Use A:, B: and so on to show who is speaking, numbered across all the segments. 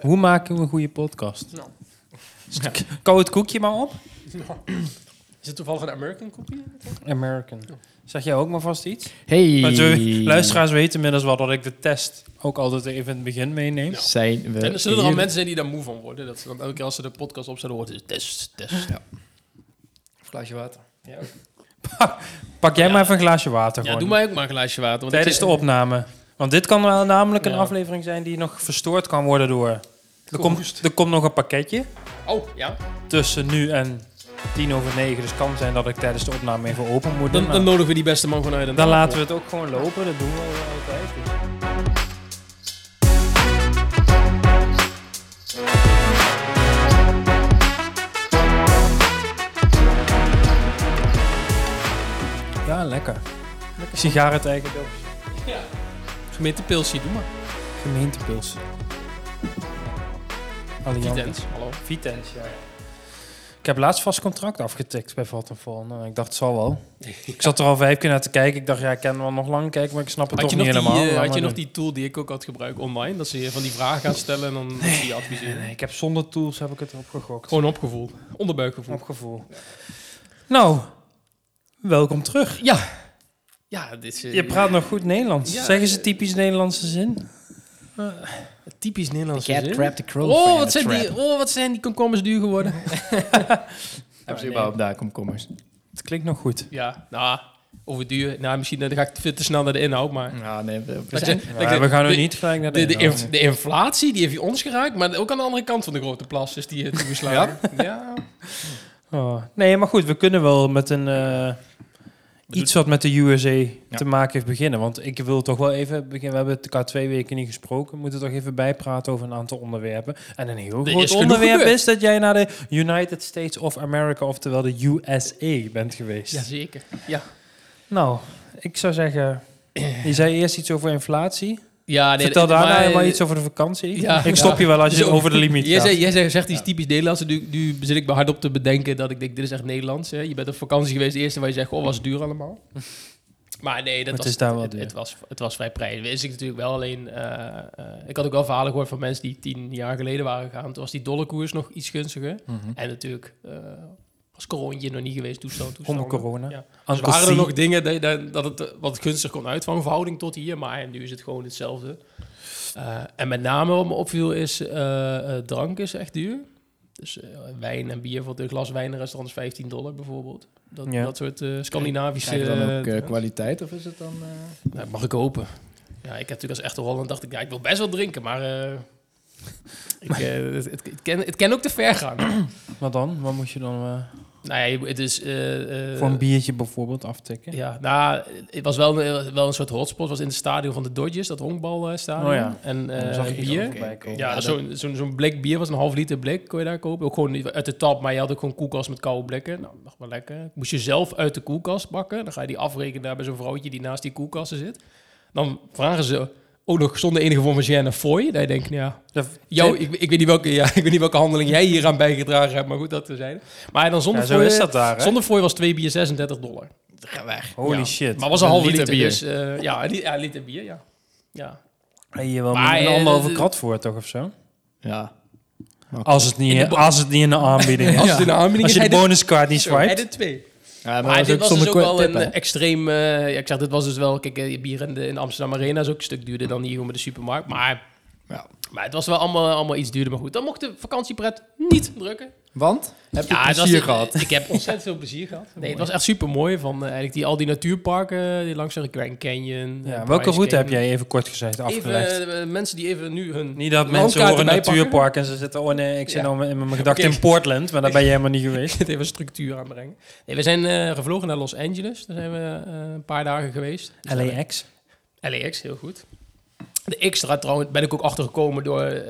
A: Hoe maken we een goede podcast?
B: Nou.
A: Koud koekje maar op.
B: Is het toevallig een American cookie?
A: American. Zeg jij ook maar vast iets?
C: Hey.
A: Maar de luisteraars weten inmiddels wel dat ik de test ook altijd even in het begin meeneem.
C: Zijn we
A: Eh,
B: en er zullen er al
C: hier?
B: mensen zijn die daar moe van worden. Dat ze dan elke keer als ze de podcast opzetten, hoort het test, test. Ja. Of glaasje water. Ja, ook.
A: Pak jij
B: Ja.
A: maar even een glaasje water
B: ja
A: gewoon.
B: doe mij ook maar een glaasje water. Want
A: Tijdens
B: ik-
A: de opname. Want dit kan wel namelijk een
B: Ja.
A: aflevering zijn die nog verstoord kan worden door... Er komt,
B: Gehoest.
A: er komt nog een pakketje
B: Oh, ja.
A: tussen nu en tien over negen. Dus het kan zijn dat ik tijdens de opname even open moet doen.
B: Dan,
A: maar
B: dan
A: Dan,
B: nodigen we die beste man vanuit.
A: laten we het ook gewoon lopen. Dat doen we altijd. Ja, lekker. Lekker sigaren tegen
B: Gemeente Pilsie, doe maar.
A: Gemeentepuls. Allianz.
B: Vitens, hallo.
A: Vitens, ja. Ik heb laatst vast contract afgetikt bij Vattenfall. Nou, ik dacht, het zal wel. Ik zat er al vijf keer naar te kijken. Ik dacht, ja, ik kan wel nog lang kijken, maar ik snap het
B: Had je,
A: toch
B: nog
A: niet
B: die,
A: helemaal.
B: eh,
A: Laat
B: had
A: maar
B: je nog
A: doen.
B: die tool die ik ook had gebruikt online? Dat ze je van die vragen gaat stellen en dan zie je adviseren.
A: Nee, ik heb zonder tools heb ik het erop gegokt.
B: Gewoon opgevoel. Onderbuikgevoel.
A: Op gevoel. Nou, welkom terug.
B: Ja, dit is eh,
A: Je praat nog goed Nederlands.
B: Ja,
A: Zeggen ze
B: eh,
A: typisch Nederlandse zin?
B: typisch Nederlands.
C: Cat trapped the crow.
B: Oh,
C: van
B: wat
C: de
B: zijn
C: trap.
B: die, oh, wat zijn die komkommers duur geworden?
C: Hebben ze
B: Ah, nee.
C: überhaupt daar komkommers?
A: Het klinkt nog goed.
B: Ja, nou, over duur. Nou, misschien eh, dan ga ik veel te snel naar de inhoud, maar...
C: Ja, Ah, nee. we- we
B: Like
C: zijn-
B: de-
A: Mm. Ja,
B: like de-
A: we gaan nu
B: de-
A: niet gelijk naar de,
B: De, de,
A: inhoud.
B: inf- de inflatie, die heeft je ons geraakt, maar ook aan de andere kant van de grote plas is die eh, toegeslagen. ja?
A: Oh, nee, maar goed, we kunnen wel met een. eh, iets wat met de USA te maken heeft beginnen. Want ik wil toch wel even beginnen. We hebben het elkaar twee weken niet gesproken. We moeten toch even bijpraten over een aantal onderwerpen. En een heel
B: Er
A: groot
B: is genoeg
A: onderwerp
B: gebeurd.
A: is dat jij naar de United States of America, oftewel de USA, bent geweest.
B: Jazeker. Ja,
A: Nou, ik zou zeggen. Je zei eerst iets over inflatie.
B: ja
A: Vertel daarna
B: Ah, maar- eh,
A: wel iets over de vakantie.
B: Ja.
A: ik stop je wel als je
B: Zo.
A: over de limiet
B: Jij,
A: gaat.
B: zei, jij zei- zegt iets typisch Nederlands. en Nu, nu zit ik me hardop te bedenken dat ik denk, dit is echt Nederlands. Hè? Je bent op vakantie geweest, het eerste waar je zegt, oh, was het duur allemaal. Maar nee, dat
A: het
B: was,
A: is daar wel
B: het,
A: duur.
B: het was, het was vrij prijzig. Wist ik natuurlijk wel, alleen... eh, eh, ik had ook wel verhalen gehoord van mensen die tien jaar geleden waren gegaan. Toen was die dollarkoers nog iets gunstiger.
C: Mhm.
B: En natuurlijk eh, was corona nog niet geweest, toestand, toestand.
A: Onder corona.
B: Ja. Dus
A: Uncle
B: waren er
A: C.
B: nog dingen dat, dat- dat het eh, wat gunstig kon uitvangen, verhouding tot hier, maar nu is het gewoon hetzelfde. Eh, en met name wat me opviel is, eh, eh, drank is echt duur. Dus eh, wijn en bier, voor een glas wijn in restaurants 15 dollar bijvoorbeeld. Dat,
A: Ja.
B: dat soort eh, Scandinavische...
C: Krijgen we dan ook
B: eh,
C: eh, kwaliteit of is het dan... eh,
B: nou, mag ik hopen. Ja, ik heb natuurlijk als echte Holland dacht ik, ja, ik wil best wel drinken, maar... eh, ik, eh, het, het, het, kan, het kan ook te ver gaan.
A: Wat dan? Wat moet je dan eh,
B: nou ja, je- het is... eh, eh,
A: voor een biertje bijvoorbeeld aftikken?
B: Ja, nou, het was wel een, eh, wel een soort hotspot. Het was in het stadion van de Dodgers, dat honkbalstadion.
A: Oh ja.
B: En eh,
A: Dan zag ik
B: bier.
A: ook bij komen.
B: Ja, zo'n zo'n- zo'n blik bier was een half liter blik, kon je daar kopen. Ook gewoon niet uit de tap, maar je had ook gewoon koelkast met koude blikken. Nou, nog wel lekker. Moest je zelf uit de koelkast bakken. Dan ga je die afrekenen daar bij zo'n vrouwtje die naast die koelkasten zit. Dan vragen ze ook nog zonder enige vorm van gêne een fooi. Daar denk ik, nou ja,
A: Dat-
B: jou, ik, ik, weet niet welke, ja, ik weet niet welke handeling jij hieraan bijgedragen hebt, maar goed, dat te zijn. Maar dan zonder
A: Ja, zo
B: fooi-
A: is dat daar, hè?
B: Zonder fooi was twee bier 36 dollar. Ga weg.
A: Holy
B: Ja.
A: shit.
B: Maar het was een halve
C: Een
B: liter,
C: liter bier.
B: dus eh, ja, een li- ja, een liter bier, ja. Ja,
A: Hey, je wel
B: Maar,
A: maar, een
B: eh,
A: anderhalve
B: dat-
A: krat voor toch of zo?
C: Ja.
A: Als het
B: In de
A: niet,
B: bo-
A: als het niet in de aanbieding is.
B: Als het in de aanbieding
A: Als
B: is,
A: je de
B: hij de-
A: bonuskaart niet
B: Zo, hij
A: swipe.
B: de twee.
C: Ja,
B: Maar dit was dus ook wel een
C: een...
B: extreem... eh, ja, ik zeg, dit was dus wel... Kijk, eh, bier in de, in de Amsterdam Arena is ook een stuk duurder dan hier gewoon bij de supermarkt. Maar,
C: Ja.
B: maar het was wel allemaal, allemaal iets duurder. Maar goed, dan mocht de vakantiepret niet drukken.
C: Want? Heb je
B: het was-
C: plezier
B: eh,
C: gehad?
B: Ik heb ontzettend veel plezier gehad. Nee, het was echt super mooi. Van eh, eigenlijk die, al die natuurparken, eh, die langs de Grand Canyon. eh,
A: Ja, welke
B: Bryce
A: route heb
B: Canyon.
A: jij even kort gezegd
B: Even
A: afgelegd?
B: eh, mensen die even nu hun
A: niet dat mensen
B: landkaarten
A: horen
B: bijpakken.
A: natuurpark en ze zitten... Oh nee, ik zit
B: Ja.
A: nou in mijn gedachten
B: Oké.
A: in Portland, maar daar ben je helemaal niet geweest.
B: het even structuur aanbrengen. Nee, we zijn eh, gevlogen naar Los Angeles. Daar zijn we eh, een paar dagen geweest. Dus
A: LAX.
B: daar- LAX, heel goed. De Xtra trouwens ben ik ook achtergekomen door... eh,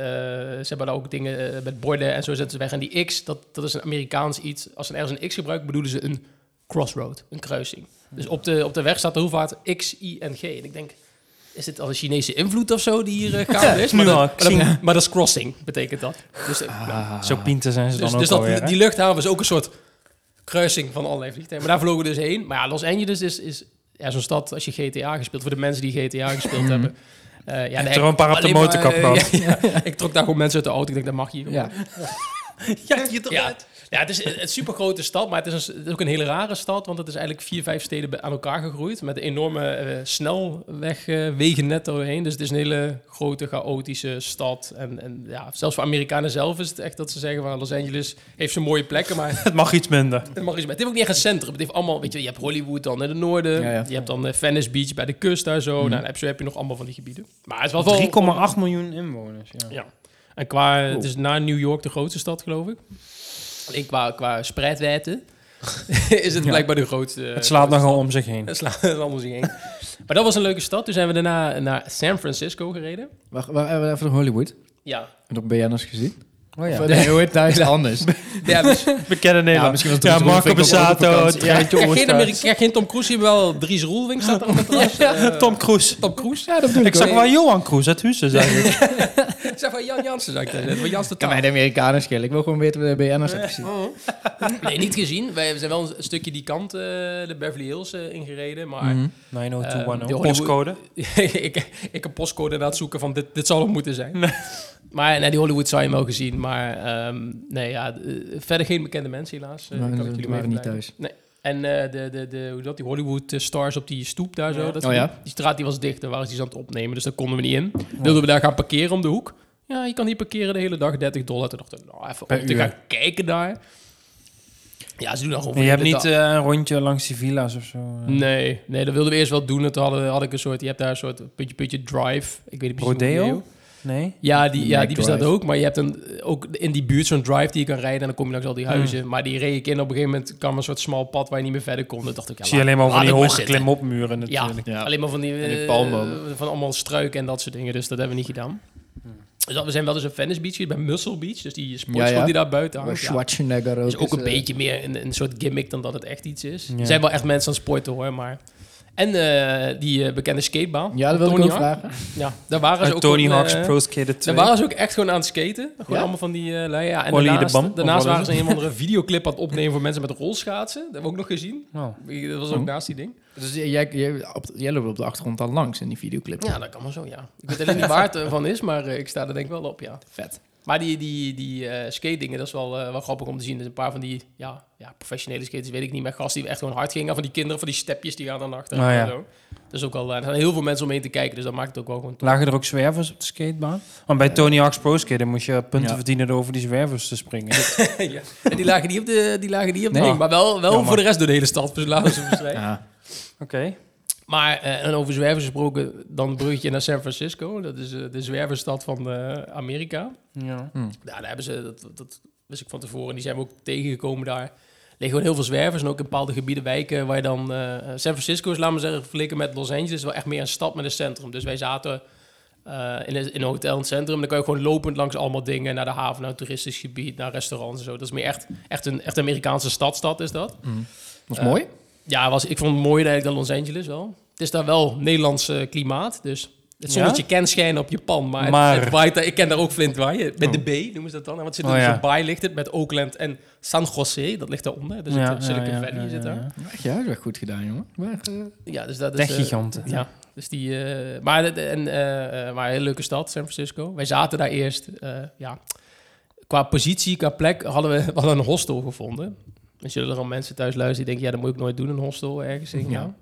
B: ze hebben daar ook dingen eh, met borden en zo zetten ze weg. En die X, dat, dat is een Amerikaans iets. Als ze ergens een X gebruiken, bedoelen ze een crossroad, een kruising. Dus op de, op de weg staat de hoeveelheid X, I en G. En ik denk, is dit al een Chinese invloed of zo die hier eh, gaande is?
A: nu
B: Maar, dat-
A: al,
B: maar, dat-
A: Xing.
B: maar dat is crossing, betekent dat. Dus, eh, nou,
C: Ah.
A: Zo pinten zijn ze dan
B: dus,
A: ook
B: dus dat,
A: alweer. hè?
B: die luchthaven is ook een soort kruising van allerlei vliegtuigen. Maar daar vlogen we dus heen. Maar ja, Los Angeles is, is ja, zo'n stad als je GTA gespeeld. Voor de mensen die GTA gespeeld hebben. Eh, ja,
A: hebt
B: nee,
A: Mhm. er wel een paar op de
B: alleen maar,
A: motorkap
B: eh,
A: gehad.
B: ja, ja. ik trok daar gewoon mensen uit de auto. Ik denk, dat mag hier. niet.
C: Ja.
A: Ja, je
B: Ja, ja het is een een supergrote stad, maar het is, een, het is ook een hele rare stad. Want het is eigenlijk vier, vijf steden bij- aan elkaar gegroeid. Met een enorme eh, snelweg eh, wegen net doorheen. Dus het is een hele grote, chaotische stad. En, en ja, zelfs voor Amerikanen zelf is het echt dat ze zeggen... Van Los Angeles heeft zijn mooie plekken, maar
A: Het mag iets minder.
B: het, mag iets, maar het heeft ook niet echt een centrum. Het heeft allemaal, weet je, je hebt Hollywood dan in het noorden.
C: Ja, Mhm. ja.
B: Je hebt dan eh, Venice Beach bij de kust daar zo. Nou, dan heb, zo heb je nog allemaal van die gebieden. Maar het is wel wel...
A: 3,8 miljoen inwoners. Ja.
B: Ja. En qua, het is na New York de grootste stad, geloof ik. Alleen qua, qua spreidwijdte is het blijkbaar de grootste.
A: Het slaat nogal om zich heen.
B: Het slaat anders heen. Maar dat was een leuke stad. Toen zijn we daarna naar San Francisco gereden.
C: Wacht, wacht, eh, even naar Hollywood.
B: Ja.
C: En op BN'ers gezien?
A: Oh
C: Of, nee, hoe heet het anders?
B: ja dus, ja,
A: Bekende
C: Ja,
A: Nederland.
C: misschien was het
A: Ja,
C: toen-
A: Marco
C: toen ik nog op
A: Bezzato,
C: vakantie-
A: het
B: ja,
A: treintje
B: geen,
A: Oorstraat.
B: Amerika, geen Tom Cruise, hier wel Dries Roelving staat er op het terras. Eh,
A: Tom Cruise.
B: Tom Cruise.
C: Ja, dat doe
A: Ik zag wel Johan Cruise uit Huissen, zei ik.
B: Ik zei van Jan Jansen, zei ik daar net. Van Jans de
C: Kan mij de Amerikanen schelen. Ik wil gewoon weten wat de BN'ers hebben gezien.
B: Nee, niet gezien. Wij zijn wel een stukje die kant, eh, de Beverly Hills, eh, ingereden. Maar
C: Mhm.
A: 90210,
B: de Eh, Hollywood-
A: oh, postcode.
B: ik, ik heb postcode aan het zoeken van dit, dit zou het moeten zijn. Maar nee, die Hollywood zou je hem wel gezien. Maar ehm, nee, ja, eh, verder geen bekende mensen helaas. Eh,
C: Nee,
B: kan
C: dat
B: ik jullie
C: waren
B: mee
C: niet
B: vertellen.
C: thuis.
B: Nee. En eh, de, de, de, hoe dat, die Hollywood eh, stars op die stoep daar zo. Dat,
C: Oh ja?
B: die, die straat die was dicht, daar waren ze iets aan het opnemen. Dus daar konden we niet in. Wilden we daar gaan parkeren om de hoek. Ja, je kan hier parkeren de hele dag, 30 dollar. Toen dachten we, nou, even
A: Per
B: om te
A: uur.
B: gaan kijken daar. Ja, ze doen dan gewoon...
A: Je hebt
B: de
A: niet
B: dag-
A: eh, een rondje langs die villa's of zo.
B: Mm.
A: eh.
B: Nee, nee, dat wilden we eerst wel doen. En toen hadden, had ik een soort, je hebt daar een soort puntje, puntje drive. Ik weet niet precies hoe-
A: Rodeo? Nee?
B: Ja, die, ja,
C: Mac
B: die bestaat
C: Drive.
B: ook. Maar je hebt een, ook in die buurt zo'n drive die je kan rijden. En dan kom je langs al die
A: Hmm.
B: huizen. Maar die reed ik in. Op een gegeven moment kwam een soort smal pad waar je niet meer verder kon. Dan dacht ik, ja,
A: Ik zie
B: laat-
A: alleen maar van
B: laat
A: die
B: het maar
A: hoge
B: zitten.
A: klimopmuren
B: Ja,
A: natuurlijk.
C: Ja.
B: alleen maar van die,
C: En die
B: eh,
C: palmbomen.
B: van allemaal struiken en dat soort dingen. Dus dat hebben we niet gedaan.
A: Hmm.
B: Dus dat- we zijn wel eens een Venice Beach geweest, bij Muscle Beach. Dus die sportschool
C: Ja, ja.
B: die daar buiten hangt. ja.
C: Schwarzenegger ook.
B: Is ook
C: is,
B: een
C: eh,
B: beetje meer een, een soort gimmick dan dat het echt iets is.
A: Ja.
B: Er zijn wel echt mensen aan het sporten hoor, maar... En eh, die eh, bekende skatebaan.
C: Ja, dat wilde ik
B: Tony
C: ook
B: Hawk.
C: vragen.
B: Ja, daar waren ze
A: Uit
B: ook
A: Tony
B: gewoon,
A: Hawk's
B: eh,
A: Pro Skater 2.
B: daar waren ze ook echt gewoon aan het skaten. Gewoon
C: Ja?
B: allemaal van die eh lui, ja. En
A: Ollie de
B: daarnaast,
A: Bam, of
B: daarnaast
A: wat
B: waren
A: is
B: ze een of andere videoclip aan het opnemen voor mensen met rolschaatsen. Dat hebben we ook nog gezien.
A: Oh.
B: Dat was ook
C: Oh.
B: naast die ding.
C: Dus jij, jij, op, jij loopt op de achtergrond dan langs in die videoclip.
B: Ja, dat kan wel zo, ja. Ik weet alleen niet waar het eh, van is, maar eh, ik sta er denk ik wel op, ja.
C: Vet.
B: Maar die, die, die eh, skate dingen, dat is wel, eh, wel grappig om te zien. Er zijn een paar van die ja, ja, professionele skaters, weet ik niet, maar gasten die echt gewoon hard gingen. Van die kinderen, van die stepjes, die gaan dan achter.
A: Nou ja.
B: Dat is ook al, eh, er zijn heel veel mensen omheen te kijken, dus dat maakt het ook wel gewoon tof.
A: Lagen er ook zwervers op de skatebaan? Want
B: Eh,
A: bij Tony Hawk's Pro Skater moest je punten
C: Ja.
A: verdienen door over die zwervers te springen.
B: ja. En die lagen niet op de, die lagen niet op de
A: Nee.
B: ding, maar wel, wel
A: Jammer.
B: voor de rest door de hele stad. Dus laten we ze bestrijden.
C: Ja.
A: Oké.
B: Maar, eh, en over zwervers gesproken, dan een bruggetje naar San Francisco. Dat is eh, de zwerverstad van eh, Amerika.
A: Ja.
B: Ja, Nou, daar hebben ze, dat, dat wist ik van tevoren, en die zijn we ook tegengekomen daar. Er liggen gewoon heel veel zwervers en ook in bepaalde gebieden, wijken waar je dan... eh, San Francisco is, laten we zeggen, vergeleken met Los Angeles, is wel echt meer een stad met een centrum. Dus wij zaten eh, in, een, in een hotel in het centrum. Dan kan je gewoon lopend langs allemaal dingen, naar de haven, naar het toeristisch gebied, naar restaurants en zo. Dat is meer echt, echt een echt Amerikaanse stadstad is dat.
C: Dat is
B: Eh,
C: mooi.
B: Ja, was, ik vond het mooier eigenlijk dan Los Angeles wel. Het is daar wel Nederlands eh, klimaat, dus het
A: Ja?
B: zonnetje kan schijnen op Japan, maar, het-
A: Maar-
B: Het, waait daar- ik ken daar ook flint waaien. Met de B noemen ze dat dan. En wat zit er
A: Oh,
B: dus
A: ja.
B: een baai ligt het met Oakland en San Jose, dat ligt daaronder. Dus
A: Ja,
B: het eh, Silicon
A: ja, ja,
B: Valley
A: ja,
B: zit
A: ja,
B: daar.
A: ja.
C: Echt, ja, dat is wel goed gedaan, jongen. Maar, eh,
B: Ja, dus dat is... eh,
A: Techgiganten.
B: ja, dus die... eh, maar, dat- en, eh, eh, maar een hele leuke stad, San Francisco. Wij zaten daar eerst, eh, ja... Qua positie, qua plek, hadden we, we hadden een hostel gevonden. Er zullen er al mensen thuis luisteren die denken... ja, dat moet ik nooit doen, een hostel ergens. in.
C: Ja.
B: Nou,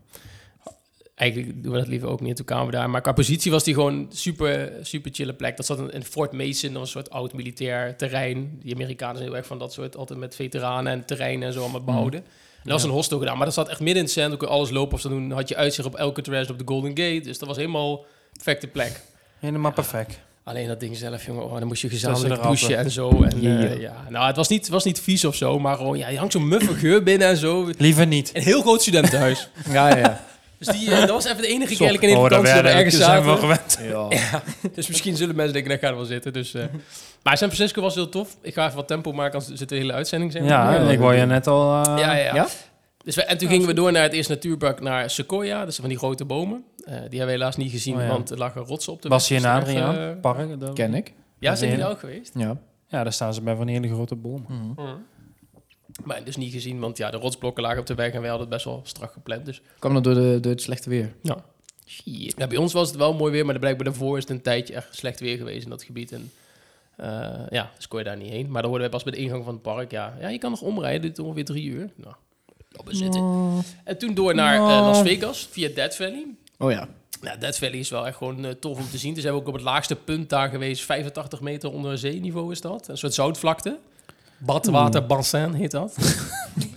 B: Eigenlijk doen we dat liever ook niet, toen kwamen we daar. Maar qua positie was die gewoon super, super chille plek. Dat zat in, in Fort Mason, dat was een soort oud militair terrein. Die Amerikanen zijn heel erg van dat soort, altijd met veteranen en terreinen en zo allemaal behouden. En dat was een hostel gedaan, maar dat zat echt midden in het centrum. Kon je alles lopen of zo doen. Had je uitzicht op Alcatraz, op de Golden Gate. Dus dat was helemaal perfecte plek.
A: Helemaal perfect.
B: Alleen dat ding zelf, jongen, oh, dan moest je
A: Tussen
B: gezamenlijk
A: de ratten.
B: douchen en zo. En, eh,
C: Jee.
B: ja. Nou, het was, niet, het was niet vies of zo, maar gewoon, ja, je hangt zo'n muffe geur binnen en zo. Een
A: Liever niet.
B: heel groot studentenhuis.
C: ja, ja, ja.
B: dus die, eh, dat was even de enige keer eigenlijk in
A: Oh,
B: de
A: daar
B: vakantie dat we
A: werden-
B: ergens
A: zijn we
B: zaten.
A: gewend.
C: ja.
B: Dus misschien zullen mensen denken, daar gaan we wel zitten. Dus, eh. maar San Francisco was heel tof. Ik ga even wat tempo maken, anders zit de hele uitzending. Zeg maar.
A: Ja,
C: Ja,
A: ik
C: dat
A: wou je
C: doen.
A: net al... eh,
B: Ja, ja, ja.
C: Ja?
B: Dus we, en toen gingen we door naar het eerste natuurpark, naar Sequoia. Dat zijn van die grote bomen. Eh, die hebben we helaas niet gezien,
A: Oh, ja.
B: want er lagen rotsen op de
A: Was je
B: weg.
A: in
B: Dus
A: Adriaan?
B: echt, eh,
A: Park? dat-
C: Ken ik.
B: ja, zijn jullie
A: Ja.
B: daar ook geweest?
C: Ja.
A: Ja, daar staan ze bij van die hele grote bomen.
B: Hmm. Maar dus niet gezien, want ja, de rotsblokken lagen op de weg en wij hadden het best wel strak gepland. Dus
C: Kwam dat door, de, door het slechte weer?
B: ja.
C: Shit.
B: Ja, bij ons was het wel mooi weer, maar dan blijkbaar daarvoor is het een tijdje echt slecht weer geweest in dat gebied. En eh, ja, dus kon je daar niet heen. Maar dan hoorden we pas bij de ingang van het park, ja, ja je kan nog omrijden, dit is ongeveer drie uur. Nou, op en zitten. En toen door naar eh,
A: Nou.
B: Las Vegas via Death Valley.
C: Oh ja.
B: Nou, Death Valley is wel echt gewoon eh, tof om te zien. Dus zijn we ook op het laagste punt daar geweest, 85 meter onder zeeniveau is dat. Een soort zoutvlakte. Badwater bassin heet dat.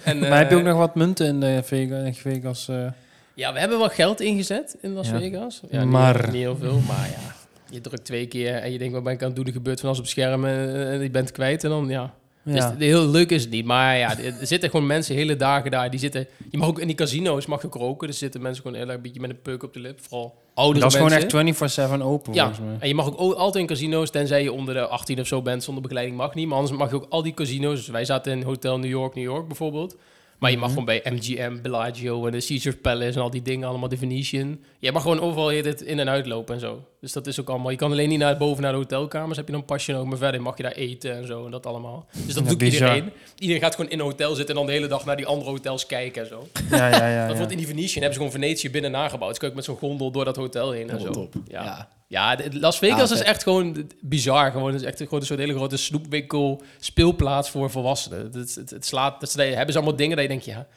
B: en,
A: Hmm. maar heb je ook
B: eh,
A: nog wat munten in de Vegas? In Vegas eh?
B: Ja, we hebben wel geld ingezet in Las
A: Ja.
B: Vegas. Ja, niet-
A: Maar-
B: Niet, heel veel, maar ja. Je drukt twee keer en je denkt, wat ben ik aan het doen? Er gebeurt van alles op schermen en je bent kwijt. En dan, ja. Dus
A: ja.
B: de- heel leuk is het niet. Maar ja, er er zitten gewoon mensen hele dagen daar. Die zitten, je mag ook in die casino's mag je ook roken. Dus zitten mensen gewoon heel erg een beetje met een peuk op de lip. Vooral oudere
A: Dat is
B: mensen.
A: gewoon echt 24-7 open
B: Ja,
A: volgens mij.
B: en je mag ook o- altijd in casino's, tenzij je onder de 18 of zo bent, zonder begeleiding mag niet. Maar anders mag je ook al die casino's. Dus wij zaten in Hotel New York, New York bijvoorbeeld. Maar je mag
A: Mhm.
B: gewoon bij MGM, Bellagio en de Caesars Palace en al die dingen, allemaal de Venetian. Je mag gewoon overal hier dit in en uit lopen en zo. Dus dat is ook allemaal. Je kan alleen niet naar boven naar de hotelkamers. Heb je dan een pasje nodig, maar verder mag je daar eten en zo en dat allemaal. Dus dat
A: Ja,
B: doet
A: bizar.
B: iedereen. Iedereen gaat gewoon in een hotel zitten en dan de hele dag naar die andere hotels kijken en zo.
A: Ja, ja, ja.
B: Dat
A: ja.
B: wordt in die Venetian hebben ze gewoon Venetië binnen nagebouwd. Dus kun je ook met zo'n gondel door dat hotel heen en zo.
C: Top.
B: Ja.
C: Ja.
B: Ja, de- Las Vegas
C: Ja,
B: is
C: vet.
B: echt gewoon d- bizar. Gewoon. Het is echt gewoon een soort hele grote snoepwinkel, speelplaats voor volwassenen. Het, het, het slaat, dat ze, daar hebben ze allemaal dingen dat je denkt, ja.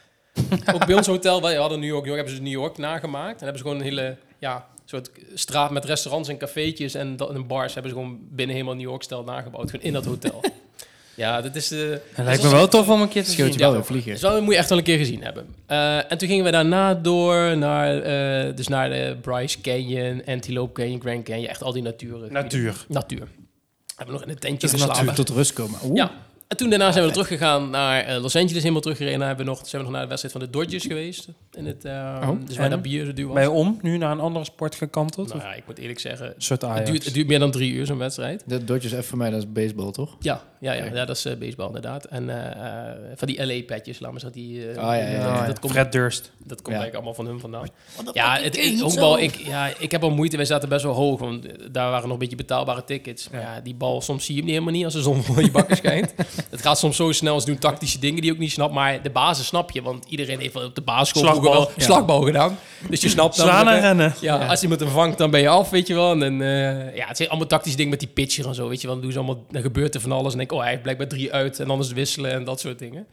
B: Ook bij ons hotel, wij hadden New York, New York, hebben ze New York nagemaakt. En hebben ze gewoon een hele ja, soort straat met restaurants en cafeetjes en, dat- en bars. Hebben ze gewoon binnen helemaal New York-stijl nagebouwd, gewoon in dat hotel. ja, dat is... eh,
A: Het
B: dat
A: lijkt
B: is
A: me wel tof om een keer te zien.
C: Scheelt je
B: Ja.
C: wel weer vliegen.
B: dus dat moet je echt wel een keer gezien hebben. Eh, en toen gingen we daarna door naar, eh, dus naar de Bryce Canyon, Antelope Canyon, Grand Canyon. Echt al die naturen.
A: Natuur.
B: Natuur. We hebben nog in een tentje
C: Het is
B: geslapen.
C: natuurlijk tot rust komen. Oeh. Ah,
B: Ja. En toen daarna zijn we teruggegaan naar eh, Los Angeles, helemaal teruggereden. Daar hebben we nog, zijn we nog naar de wedstrijd van de Dodgers geweest. In het, eh,
C: Oh,
B: dus waar
A: en?
B: dat bier zo duur was.
A: Ben je om nu naar een andere sport gekanteld?
B: nou
A: Of
B: ja, ik moet eerlijk zeggen,
A: een soort
B: het
A: Ajax?
B: duurt, het duurt meer dan drie uur zo'n wedstrijd.
C: De Dodgers F voor mij, dat is baseball, toch?
B: Ja, ja, ja,
C: Oké.
B: ja dat is eh, baseball inderdaad. En eh, eh, van die LA-petjes, laat maar zeggen. Die, eh,
C: Ah, ja, ja, ja,
B: dat-
C: ja.
B: Dat komt
A: Fred Durst.
B: Dat komt
C: Ja.
B: eigenlijk allemaal van hun vandaan. Ja, het, het, honkbal, ik, ja, ik heb al moeite. Wij zaten best wel hoog, want daar waren nog een beetje betaalbare tickets. Maar ja, die bal, soms zie je hem niet helemaal niet als de zon voor je bakken schijnt. het gaat soms zo snel, ze doen tactische dingen die je ook niet snapt. Maar de basis snap je, want iedereen heeft wel op de basisschool
A: Slagbal,
B: vroeger wel
A: ja.
B: slagbal gedaan. Dus je snapt dan...
A: Slaan
B: dat,
A: en
B: eh,
A: rennen.
B: ja, als iemand hem vangt, dan ben je af, weet je wel. En, dan, eh, ja, het zijn allemaal tactische dingen met die pitcher en zo, weet je wel. Dan, doen ze allemaal, dan gebeurt er van alles en denk ik, oh, hij heeft blijkbaar drie uit en anders wisselen en dat soort dingen.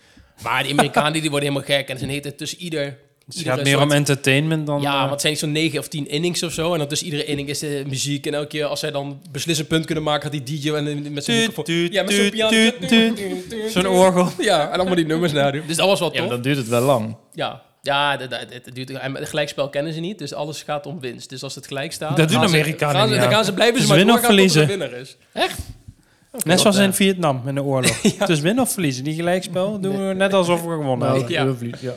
B: Maar die Amerikanen, die worden helemaal gek. En ze heten tussen ieder...
A: Het
B: iedere
A: gaat meer
B: soort-
A: om entertainment dan...
B: ja,
A: eh,
B: want het zijn zo'n 9 of 10 innings of zo. En dan tussen iedere inning is er muziek. En elke keer als zij dan beslissend punt kunnen maken, gaat die DJ en dan met zijn
A: Tuut,
B: microfoon-
A: tuut,
B: Ja, met zo'n
A: tuut,
B: piano.
A: tuut, tuut. Zo'n orgel.
B: Ja, en allemaal die nummers nadoen. Dus dat was wel
C: Ja, maar
B: tof.
C: dan duurt het wel lang.
B: Ja, ja dat, dat, het duurt. En het gelijkspel kennen ze niet, dus alles gaat om winst. Dus als het gelijk staat...
A: Dat
B: dan
A: doen
B: gaan ze-
A: Amerikanen
B: gaan ze-
A: niet,
B: Dan
A: ja.
B: gaan ze blijven
A: Het
B: ze
A: is
B: maar
A: winnen of
B: doorgaan tot er
A: verliezen.
B: een winnaar is. Echt?
A: Net zoals
B: dat,
A: in
B: eh.
A: Vietnam, in de oorlog. Het is winnen of verliezen. Die gelijkspel doen we net alsof we gewonnen hadden.
B: ja.
C: heel vlieg- ja.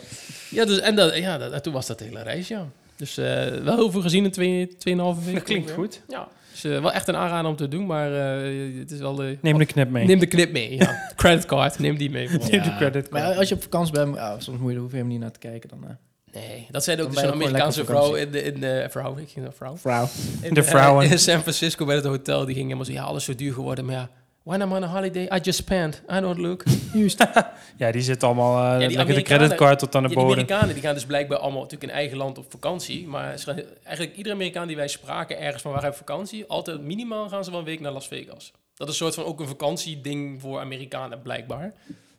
B: Ja, dus, en dat, ja dat, en toen was dat de hele reis, ja. Dus eh, wel heel veel gezien in twee- 2,5 weken.
A: Dat klinkt goed.
B: Ja, dus eh, wel echt een aanrader om te doen, maar eh, het is wel... eh,
A: Neem de knip mee.
B: Neem de knip mee, ja. Creditcard, neem die mee. vooral.
A: Neem de creditcard.
C: Maar als je op vakantie bent, ja, soms moet je, hoef je hem niet naar te kijken dan. eh.
B: Nee, dat zei ook
C: Dan
B: dus
C: ben je
B: een
C: ook gewoon
B: Amerikaanse
C: lekker op
B: vrouw in de... In de vrouw, ik ging naar vrouw.
C: Vrouw.
B: In,
A: De
B: eh,
A: vrouwen.
B: in San Francisco bij het hotel, die ging helemaal zo... Ja, alles zo duur geworden, maar ja... When I'm on a holiday, I just spend. I don't look. Ja,
A: Ja, die zit allemaal eh,
B: die
A: lekker de
B: Amerikanen-
A: creditcard tot aan de
B: die
A: bodem.
B: Amerikanen die gaan dus blijkbaar allemaal natuurlijk in eigen land op vakantie. Maar ze- eigenlijk iedere Amerikaan die wij spraken ergens van waar hij op vakantie... altijd minimaal gaan ze wel een week naar Las Vegas. Dat is een soort van ook een vakantieding voor Amerikanen blijkbaar.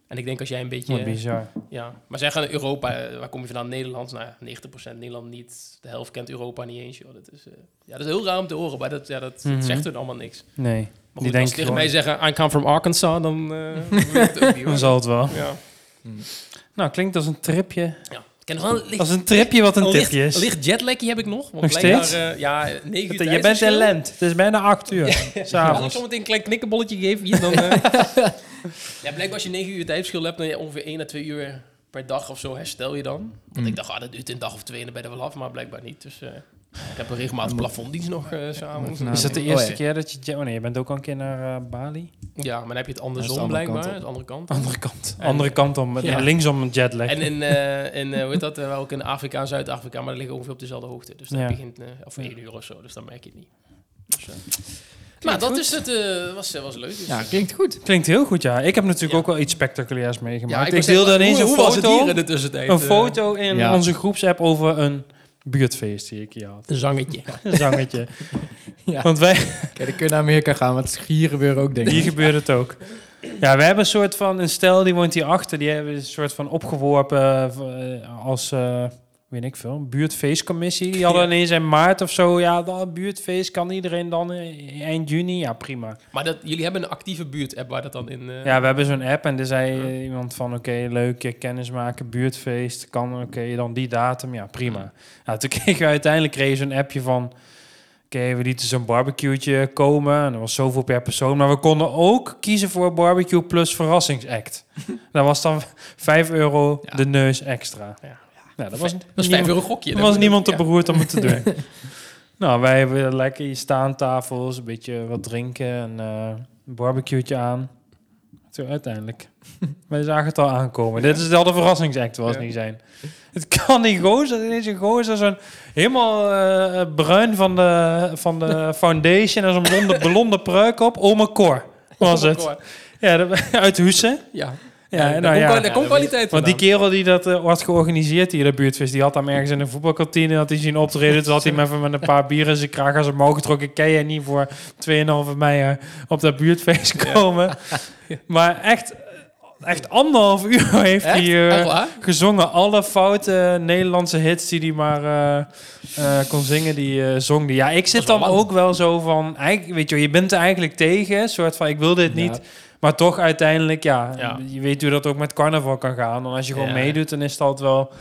B: En ik denk als jij een beetje...
A: Wat bizar.
B: Ja, maar zij gaan naar Europa. eh, Waar kom je vandaan? Nederland? Nou, 90% Nederland niet. De helft kent Europa niet eens, joh. Dat is, eh, ja, dat is heel raar om te horen, maar dat, ja, dat, dat
A: Mhm.
B: zegt hun allemaal niks.
A: Nee,
B: Maar
A: Die
B: goed, als
A: denken
B: ze tegen
A: gewoon-
B: mij zeggen, I come from Arkansas, dan eh, dan wil ik het ook niet,
A: dan
B: hoor.
A: zal het wel.
B: Ja.
A: Nou, klinkt als een tripje.
B: ja. Ik ken nog wel een licht,
A: Als een tripje wat een
B: een licht,
A: tipje is.
B: een licht jetlaggie heb ik nog. Want
A: Nog
B: blijkbaar,
A: steeds?
B: eh, ja, 9 uur
A: Het- Je bent in
B: tijdsverschil.
A: lent. Het is bijna acht uur.
B: Als ik
A: S'avonds.
B: zo meteen een klein knikkenbolletje geef, hier, dan... eh, ja, blijkbaar als je 9 uur tijdverschil hebt, dan je ongeveer 1 à 2 uur per dag of zo herstel je dan. Want ik dacht, ah, dat duurt een dag of twee en dan ben je er wel af, maar blijkbaar niet. Dus eh, ik heb een regelmatig plafonddienst nog eh, s'avonds.
C: Nou,
A: Is dat de
C: Oh,
A: eerste
C: ja.
A: keer dat je... jet- Oh nee, je bent ook al een keer naar eh, Bali.
B: Ja, maar dan heb je het andersom
C: Dat is de andere
B: blijkbaar,
C: kant op.
B: dat is de andere kant.
A: Andere kant.
B: En-
A: Andere kant om.
B: Ja.
A: Nee, linksom een jetlag.
B: En in, eh, in eh, hoe heet dat, eh, ook in Afrika en Zuid-Afrika, maar dat liggen ongeveer op dezelfde hoogte. Dus dat
A: Ja.
B: begint, eh of
A: Ja.
B: 1 uur of zo, dus dan merk je het niet. Dus, eh, nou, dat is het, eh, was, was leuk. Dus,
C: Ja, klinkt goed.
A: Klinkt heel goed, ja. Ik heb natuurlijk
B: Ja.
A: ook wel iets spectaculairs meegemaakt.
B: ik
A: ik
B: was echt-
A: deelde ineens
B: hoe,
A: een
B: hoe was het hier
A: foto.
B: in de tussentijd?
A: Een
B: eh?
A: foto in
C: Ja.
A: onze groepsapp over een buurtfeest die ik hier had.
B: Een zangetje.
A: Een zangetje.
C: Ja.
A: Want wij,
C: Kijk, dan kun je naar Amerika gaan, maar het is hier gebeuren ook denk
A: hier
C: ik.
A: gebeurt het ook. Ja, we hebben een soort van, een stel die woont hierachter, die hebben we een soort van opgeworpen eh, als, eh weet ik veel, een buurtfeestcommissie. Die hadden
B: Ja.
A: ineens in maart of zo, ja, dan buurtfeest kan iedereen dan eh, eind juni, ja prima.
B: Maar dat, jullie hebben een actieve buurt-app waar dat dan in... eh,
A: Ja, we hebben zo'n app en er zei eh, iemand van... oké, leuk, eh, kennis maken, buurtfeest, kan oké, dan die datum. Ja, prima. Ja, toen kregen we uiteindelijk kregen we zo'n appje van... oké, we lieten zo'n barbecue'tje komen. En er was zoveel per persoon. Maar we konden ook kiezen voor barbecue plus verrassingsact. dat was dan 5 euro
B: Ja.
A: de neus extra.
B: Ja.
A: Nou, dat was,
B: Dat is 5 euro gokje.
A: er was niemand te
B: Ja.
A: beroerd om het te doen. nou, wij hebben lekker hier staantafels, een beetje wat drinken en eh een barbecue'tje aan. Toen uiteindelijk. wij zagen het al aankomen. Dit is wel de verrassingsact, was
B: Ja.
A: niet zijn. Het kan die gozer, deze gozer, zo'n helemaal eh, bruin van de, van de foundation en zo'n blonde, blonde pruik op. Oma Cor was het. Ja, dat- uit Hussen.
B: Ja,
A: Ja,
B: daar
A: nou
B: komt,
A: ja.
B: kwali- daar komt kwaliteit
A: Want die
B: vandaan.
A: kerel die dat eh, had georganiseerd hier, dat buurtfeest, die had hem ergens in een voetbalkantine had hij zien optreden. Toen had hij hem even met een paar bieren in zijn kraag aan zijn mouw getrokken. Ken je niet voor 2,5 mei eh, op dat buurtfeest komen. Maar echt, echt anderhalf uur heeft
B: Echt?
A: hij eh,
B: Echt waar?
A: gezongen. Alle foute Nederlandse hits die hij maar eh, eh, kon zingen, die eh, zong die. Ja, ik zit
B: is wel
A: dan
B: lang.
A: ook wel zo van, eigenlijk, weet je, wel, je bent er eigenlijk tegen. soort van, ik wil dit niet. Maar toch uiteindelijk, ja,
B: Ja.
A: je weet hoe dat ook met carnaval kan gaan. En als je gewoon
B: Ja.
A: meedoet, dan is het altijd wel,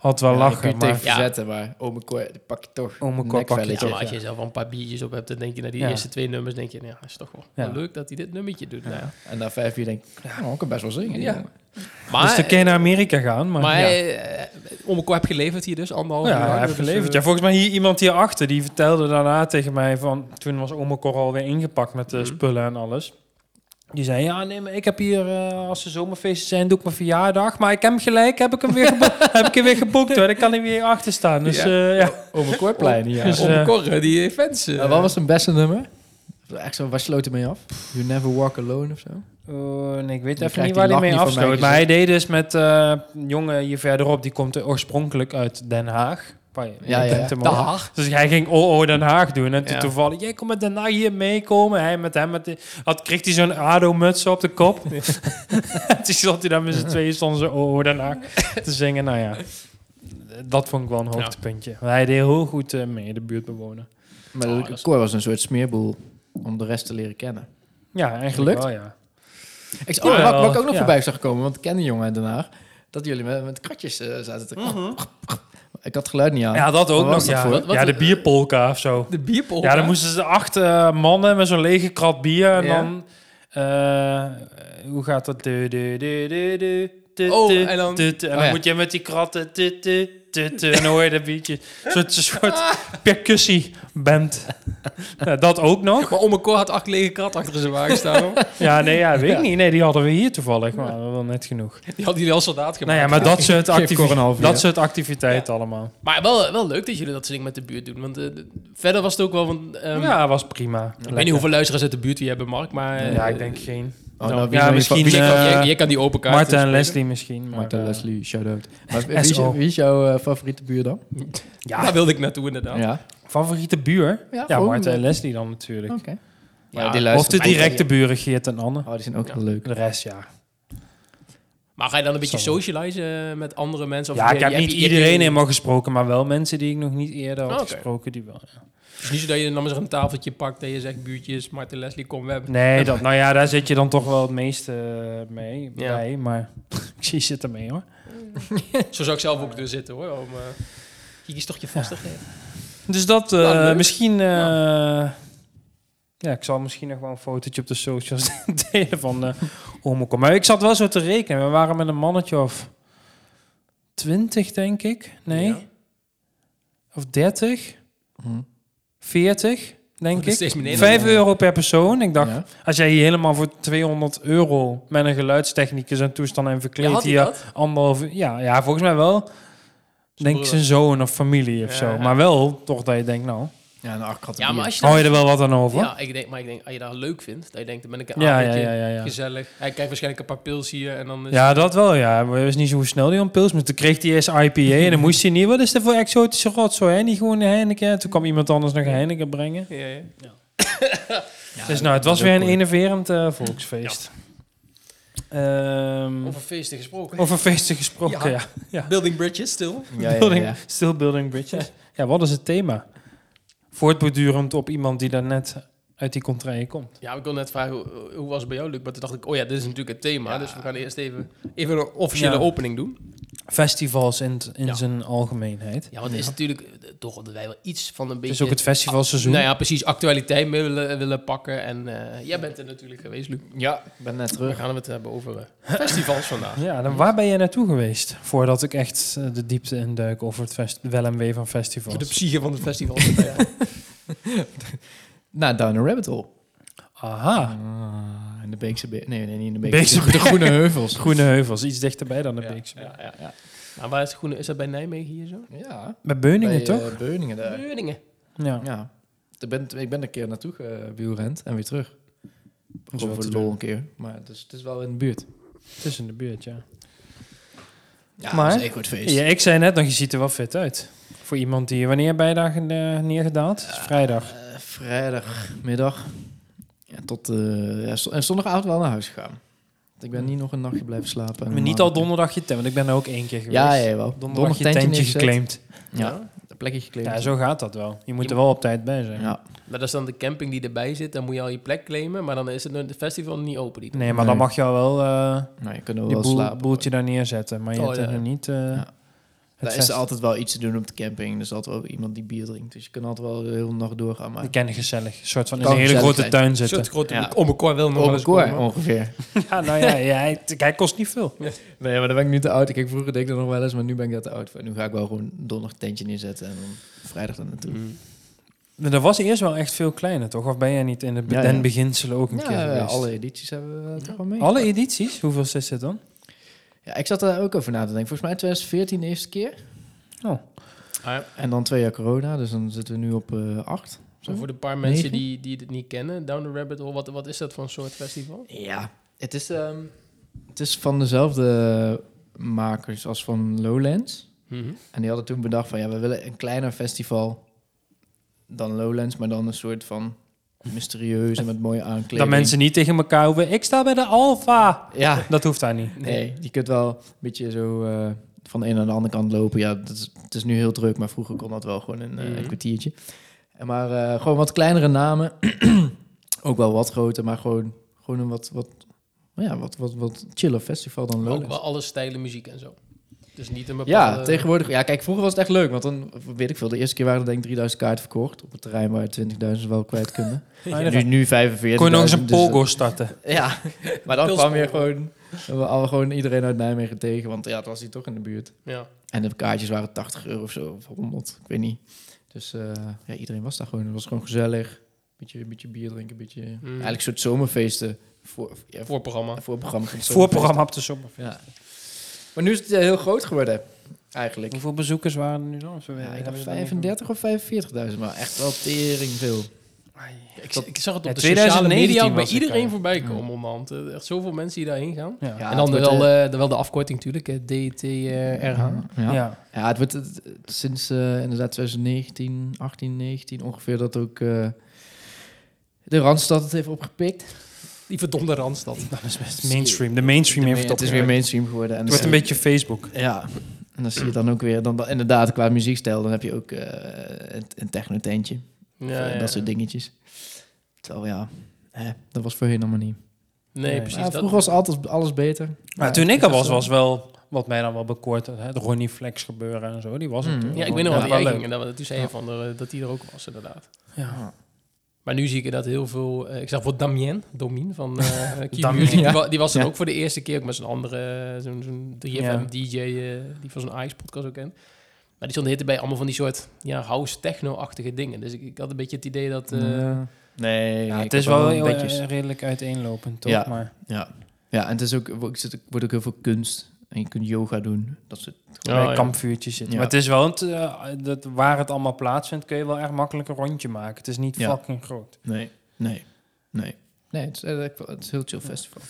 A: altijd wel
C: kun
A: lachen.
C: je tegen
A: Maar,
B: Ja.
C: verzetten, maar oh mijn koor, die pak je toch.
A: Oh mijn koor, pak je
C: Nekvelletje.
B: Ja,
A: toch.
B: maar als je zelf al een paar biertjes op hebt, dan denk je naar die
A: Ja.
B: eerste twee nummers, denk je, nou, is toch wel
A: Ja.
B: leuk dat hij dit nummertje doet. Nou ja.
C: En na vijf uur denk ik, nou, ik kan best wel zingen.
B: Ja.
C: Ja.
B: Maar, eh,
A: dus dan kun je naar Amerika gaan. Maar,
B: maar
A: ja.
B: eh, Ommelkoor heb geleverd hier dus, anderhalf
A: Ja,
B: uur.
A: hij heeft
B: Dus, eh,
A: geleverd. Ja, volgens mij hier iemand hierachter, die vertelde daarna tegen mij van... Toen was Omekor alweer ingepakt met de
B: Mhm.
A: spullen en alles. Die zei, ja, nee, maar ik heb hier, eh, als er zomerfeesten zijn, doe ik mijn verjaardag. Maar ik heb hem gelijk, heb ik hem weer, gebo- heb ik hem weer geboekt hoor. Dan kan hij weer achter staan. Dus
B: Ja.
A: eh, ja.
C: Oh mijn koorplein, ja.
A: Dus, eh,
B: Ommelkoor, eh, die fans. eh,
C: Nou, wat was zijn beste nummer? Echt zo, waar sloot hij mee af? You Never Walk Alone of zo?
A: Oh, nee, ik weet
C: Dan
A: even niet
C: krijgt
A: waar
C: die
A: hij
C: lach
A: mee
C: niet van
A: afsloot.
C: mij
A: Maar hij deed dus met eh, een jongen hier verderop. Die komt oorspronkelijk uit Den Haag. Waar je-
C: Ja,
A: je
C: ja,
A: kent hem
B: Den
A: al.
B: Haag.
A: Dus hij ging OO Den Haag doen. En toen
B: Ja.
A: toevallig, jij komt met Den Haag hier meekomen. Hij met hem, met die- had, kreeg hij zo'n ADO-muts op de kop. toen zat hij daar met z'n tweeën, stonden ze OO Den Haag te zingen. Nou ja, dat vond ik wel een
B: Ja.
A: hoogtepuntje. Want Hij deed heel goed eh, mee, de buurtbewoner.
C: Maar
B: Oh,
C: de-
B: dat is-
C: koor was een soort smeerboel om de rest te leren kennen.
A: Ja, eigenlijk
C: Gelukt?
A: wel, ja. Ja,
C: Ik, oh, wat, wat ik ook nog
A: ja.
C: voorbij zag komen, want ik ken die jongen in Den Haag, dat jullie met, met kratjes eh, zaten te... Ik had het geluid niet aan.
A: Mm. Ja, dat ook
C: Wat
A: nog.
C: was dat
A: Ja.
C: voor?
B: Wat- wat-
A: ja, de bierpolka of zo.
B: De bierpol.
A: Ja, dan moesten ze acht eh, mannen met zo'n lege krat bier. En
B: Ja.
A: dan... eh, hoe gaat dat? Du, du, du, du, du, du,
B: Oh,
A: du,
B: en dan-
A: du, du. En
C: Oh,
A: dan
C: ja.
A: moet je met die kratten... du, du, du, du. En dan hoor je dat biertje. Een soort, een soort
B: Ah.
A: percussieband. nou, dat ook nog.
B: Maar Ommelkoor had acht lege krat achter zijn wagen staan. hoor.
A: Ja, nee, ja, weet ik niet. Nee, die hadden we hier toevallig. Maar dat was wel net genoeg.
B: Die had jullie al soldaat gemaakt.
A: Nou ja, maar dat soort,
C: Geef
A: activi-
C: voor een half uur.
A: dat soort activiteiten allemaal.
B: Maar wel, wel leuk dat jullie dat soort dingen met de buurt doen. Want eh, de- verder was het ook wel... Want, ehm,
A: ja, was prima.
B: Ik weet niet hoeveel luisteraars uit de buurt die hebben, Mark. Maar eh,
A: Ja, ik denk geen.
C: Oh, nou, wie
A: ja,
C: zou je
A: misschien,
C: van- wie
B: Je,
C: zou-
A: eh,
B: kan- je- je kan die open kaart.
A: Marten en
B: spelen.
A: Leslie misschien. Maar,
C: Marta
A: eh,
C: Leslie, shout-out. Maar wie, is-
A: SO.
C: wie is jouw eh, favoriete buur dan?
A: Ja,
B: Daar wilde ik naartoe inderdaad.
C: Ja,
A: Favoriete buur?
C: Ja,
A: Ja,
C: gewoon,
A: Marten
C: eh,
A: en Leslie dan natuurlijk.
C: oké. Maar
B: Oh. Ja,
C: die
A: of de
C: luisteren-
A: directe buren, Geert en Anne.
C: Oh, die zijn ook
B: Ja.
C: wel leuk.
A: De rest, ja.
B: Maar ga je dan een beetje
A: Sommige.
B: socializen eh, met andere mensen? Of
A: ja,
B: je-
A: ik heb
B: je
A: niet
B: je-
A: iedereen
B: je-
A: helemaal gesproken, maar wel mensen die ik nog niet eerder had
B: Oh, oké.
A: gesproken. Die wel, ja.
B: Het is niet zo dat je dan maar een tafeltje pakt en je zegt buurtjes, Martin Leslie, kom, we hebben...
A: Nee, dat, nou ja, daar zit je dan toch wel het meeste eh, mee,
B: Ja.
A: bij. Maar ik zie je zit ermee hoor.
B: Zo zou ik zelf ook er zitten hoor, om... eh je kiest toch je vast te geven.
A: Dus dat eh,
B: Nou, leuk.
A: misschien... eh,
B: Ja.
A: ja. ik zal misschien nog wel een fotootje op de socials delen van eh Omekom. Maar ik zat wel zo te rekenen. We waren met een mannetje of 20, denk ik. Nee?
B: Ja.
A: Of 30?
C: Hm.
A: 40,
B: Dat
A: denk
B: is
A: ik.
B: steeds beneden.
A: 5 euro per persoon. Ik dacht,
C: Ja.
A: als jij hier helemaal voor 200 euro met een geluidstechnicus en toestand en
B: Ja,
A: verkleed
B: had hij
A: hier
B: dat?
A: anderhalf uur- Ja, ja, volgens mij wel. denk ik
B: broer.
A: zijn zoon of familie of
B: Ja,
A: zo.
B: ja.
A: Maar wel toch dat je denkt, nou,
C: Ja, een acht katten
B: Ja, maar
C: bier.
B: als je
A: Hou
B: dat,
A: je er wel wat aan over?
B: ja, ik denk, maar ik denk, als je dat leuk vindt, dat je denkt, dan ben ik een
A: ja, ja,
B: avondje,
A: ja, ja, ja.
B: gezellig. Hij krijgt waarschijnlijk een paar pils hier en dan is
A: Ja, dat wel, ja. Maar het is niet zo snel die ontpils. Maar toen kreeg hij eerst IPA en dan moest hij niet. Wat is dat voor exotische rotzooi, hè? Niet gewoon een Heineken. En Toen kwam iemand anders nog een Heineken brengen.
B: Ja, ja.
A: dus nou, het was weer een
C: cool.
A: enerverend eh, volksfeest. Ehm,
B: Over feesten gesproken.
A: over feesten gesproken, ja.
B: Ja. Building bridges still.
C: Ja, ja,
A: Building,
C: ja.
A: Still building bridges. ja, wat is het thema? Voortbordurend op iemand die daar net uit die contraille komt.
B: Ja, ik wil net vragen, hoe, hoe was het bij jou, Luc? Maar toen dacht ik, oh ja, dit is natuurlijk het thema.
C: Ja.
B: Dus we gaan eerst even, even een officiële
A: Ja.
B: opening doen.
A: Festivals in, t- in
B: Ja.
A: zijn algemeenheid.
B: Ja, want het is natuurlijk eh, toch dat wij wel iets van een
A: Het
B: beetje...
A: is ook het festivalseizoen.
B: Nou ja, precies, actualiteit mee willen, willen pakken. En eh, jij bent er natuurlijk geweest, Luc.
C: Ja, ik ben net
B: We
C: terug.
B: gaan het hebben over eh, festivals vandaag.
A: Ja, dan waar ben jij naartoe geweest? Voordat ik echt eh, de diepte induik over het fest- wel en wee van
B: Voor de
A: festivals.
B: psyche van het festival.
C: Naar Nou, Down a Rabbit Hole.
A: Aha,
C: Ah, in de Beekse Be- Nee, nee, niet in de Beekse,
A: Beekse
C: Berg. De Groene Heuvels.
A: Groene Heuvels, iets dichterbij dan de
B: Ja,
A: Beekse.
B: ja, ja, ja. Maar waar is het groene? Is dat bij Nijmegen hier zo?
C: Ja.
A: Bij Beuningen
C: bij,
A: toch?
C: eh, Beuningen daar.
B: Beuningen.
A: ja.
C: Ja. Ik ben, ik ben een keer naartoe gewielrend en weer terug.
A: is
C: Of
A: wel
C: voor
A: te
C: de
A: doen.
C: lol een keer. Maar het is, het is wel in de buurt.
A: Het is in de buurt, ja.
C: Ja,
A: Maar-
C: dat is een goed feest.
A: ja. Ik zei net nog, je ziet er wel fit uit. Voor iemand die, wanneer ben je daar eh, neergedaald? Het is vrijdag.
C: Eh, vrijdagmiddag. Ja, tot, eh, ja, zo- en zondagavond wel naar huis gegaan. Want Ik ben niet nog een nachtje blijven slapen. en
A: Maar niet
C: maandag-
A: al donderdag je tent, want ik ben er ook één keer geweest.
C: Ja, ja, wel.
A: Donderdag je tentje geclaimd.
C: Ja, een plekje geclaimd.
A: Ja, zo gaat dat wel. Je moet er wel op tijd bij zijn.
C: Ja.
B: Maar dat is dan de camping die erbij zit. Dan moet je al je plek claimen. Maar dan is het het festival niet open. Die
A: Nee, maar dan
C: Nee.
A: mag je al wel eh
C: Nou, je kunt er
A: die
C: wel
A: boel,
C: slapen.
A: boeltje daar neerzetten. Maar je
B: Oh,
A: hebt er
B: ja.
A: nog niet... eh, het
C: Daar is
A: fest-
C: er altijd wel iets te doen op de camping. Er is altijd wel iemand die bier drinkt. Dus je kan altijd wel de hele nacht doorgaan. Maar
A: Ik ken gezellig. Een soort van in
C: Kan
A: een hele
C: gezellig
A: grote
C: zijn.
A: tuin
B: Een
A: zitten.
B: soort grote
C: Ja.
B: om een koor wil nog wel eens
C: Overkoor,
B: komen.
C: ongeveer.
A: Ja, nou ja, ja hij, hij kost niet veel.
C: Nee, maar dan ben ik nu te oud. Kijk, vroeger deed ik dat nog wel eens, maar nu ben ik daar te oud voor. Nu ga ik wel gewoon donderdag tentje neerzetten en dan vrijdag dan naartoe.
B: Mm.
A: Maar er was eerst wel echt veel kleiner, toch? Of ben jij niet in de be-
C: Ja, ja.
A: den beginselen ook een keer
C: Ja,
A: geweest?
C: alle edities hebben we eh, toch wel mee.
A: Alle edities? Hoeveel is dit dan?
C: Ja, ik zat daar ook over na te denken. Volgens mij 2014 de eerste keer.
A: Oh.
B: Ah, ja.
C: En dan twee jaar corona, dus dan zitten we nu op eh, acht.
B: Zo voor de paar
C: Negen?
B: mensen die, die het niet kennen, Down the Rabbit Hole, wat, wat is dat voor een soort festival?
C: Ja, het is, ehm, het is van dezelfde makers als van Lowlands. En die hadden toen bedacht van, ja, we willen een kleiner festival dan Lowlands, maar dan een soort van mysterieus en met mooie aankleding.
A: Dat mensen niet tegen elkaar hoeven. Ik sta bij de Alfa.
C: Ja,
A: Dat hoeft daar niet.
C: Nee, je kunt wel een beetje zo eh, van de een naar de andere kant lopen. Ja, dat is, het is nu heel druk, maar vroeger kon dat wel gewoon in eh,
B: Mhm.
C: een kwartiertje. En maar eh, gewoon wat kleinere namen. ook wel wat groter, maar gewoon, gewoon een wat, wat, nou ja, wat, wat, wat chiller festival dan
B: Ook wel
C: Lowlands.
B: alle stijlen muziek en zo. Dus niet een bepaalde...
A: eh,
C: Ja, tegenwoordig. Ja, kijk, vroeger was het echt leuk. Want dan, weet ik veel, de eerste keer waren er denk ik 3000 kaarten verkocht. Op het terrein waar 20.000 wel kwijt kunnen.
A: Ja.
C: nu, dus, eh, nu 45.
A: Kon je nog eens een pogo starten?
C: Ja, maar dan
B: Pils
C: kwam weer
B: pogo.
C: gewoon, dan waren we gewoon iedereen uit Nijmegen tegen. Want ja, het was hier toch in de buurt.
B: Ja.
C: En de kaartjes waren 80 euro of zo, of 100, ik weet niet. Dus eh, ja, iedereen was daar gewoon. Het was gewoon gezellig. Beetje, beetje bier drinken, beetje...
A: Hmm.
C: Eigenlijk een soort zomerfeesten. Voor, ja, voor,
B: Voorprogramma.
C: voorprogramma van het zomerfeest.
A: Voorprogramma op de zomer.
C: Ja. Maar nu is het eh, heel groot geworden, eigenlijk.
A: Hoeveel bezoekers waren er nu dan? Of we-
C: Ja, ik
A: hebben
C: dacht
A: we dat niet
C: 35 of 45.000, maar echt wel tering veel.
B: Ik, ik zag het
A: Ja,
B: op de sociale
A: 2019
B: media ook bij
A: was het,
B: iedereen
A: eh.
B: voorbij komen onderhand. Eh, Echt zoveel mensen die daarheen gaan.
A: genoemd? Ja.
B: en dan
C: het wordt,
B: wel,
C: eh,
B: eh, dan wel de afkorting natuurlijk, eh, DTRH.
C: ja.
A: ja.
C: Ja, het wordt het- het- sinds eh, inderdaad 2019, 18, 19 ongeveer dat ook eh, de Randstad het heeft opgepikt.
B: Die verdomde Randstad.
A: Dat is best mainstream. De mainstream heeft het
C: het is weer
A: opgewerkt.
C: mainstream geworden. En
A: Het wordt een
C: dan-
A: beetje Facebook.
C: Ja, en dan zie je dan ook weer, dan, inderdaad qua muziekstijl, dan heb je ook eh, een, een techno-tentje.
B: Ja,
C: Of, eh,
B: ja.
C: Dat soort dingetjes. Terwijl ja, hè, dat was voorheen allemaal niet.
B: Nee,
A: Nee.
B: precies.
C: Ja,
B: dat-
C: vroeger was altijd alles beter.
A: Maar
C: Ja,
A: toen ik
C: dat
A: er
C: is
A: was,
C: wel-
A: was wel wat mij dan wel bekoord. Het Ronnie Flex gebeuren en zo. Die was
C: Hmm.
A: het. toen.
B: Ja, ik weet nog wel, die
A: Ja,
B: jij
A: leuk.
B: ging en dat, toen zei je
A: Ja.
B: van eh, dat die er ook was, inderdaad.
A: Ja.
B: Maar nu zie ik dat heel veel... eh, ik zag voor Damien, Domien van eh Key
A: Damien,
B: Music,
C: ja.
B: Die, wa- die was dan
C: Ja.
B: ook voor de eerste keer ook met zijn andere... eh, Zo'n zo'n 3FM
A: Ja.
B: DJ eh, die van zijn Ice-podcast ook kent. Maar die stond de hitte bij allemaal van die soort ja, house-techno-achtige dingen. Dus ik, ik had een beetje het idee dat... eh,
A: Mm.
C: Ja. nee,
A: Ja,
C: ik
A: het is
C: heb
A: wel heel,
C: netjes.
A: eh, redelijk uiteenlopend, toch?
C: eh, Ja.
A: Maar
C: Ja. ja, en het is ook, ik zit, ik word ook heel veel kunst En je kunt yoga doen. Dat soort.
A: bij
B: Oh, ja.
A: kampvuurtjes zitten.
C: Ja.
A: Maar het is wel, een t- eh, dat, waar het allemaal plaatsvindt, kun je wel echt makkelijk een rondje maken. Het is niet
C: Ja.
A: fucking groot.
C: Nee. Nee. Nee. Nee, het is, eh, het is een heel chill festival.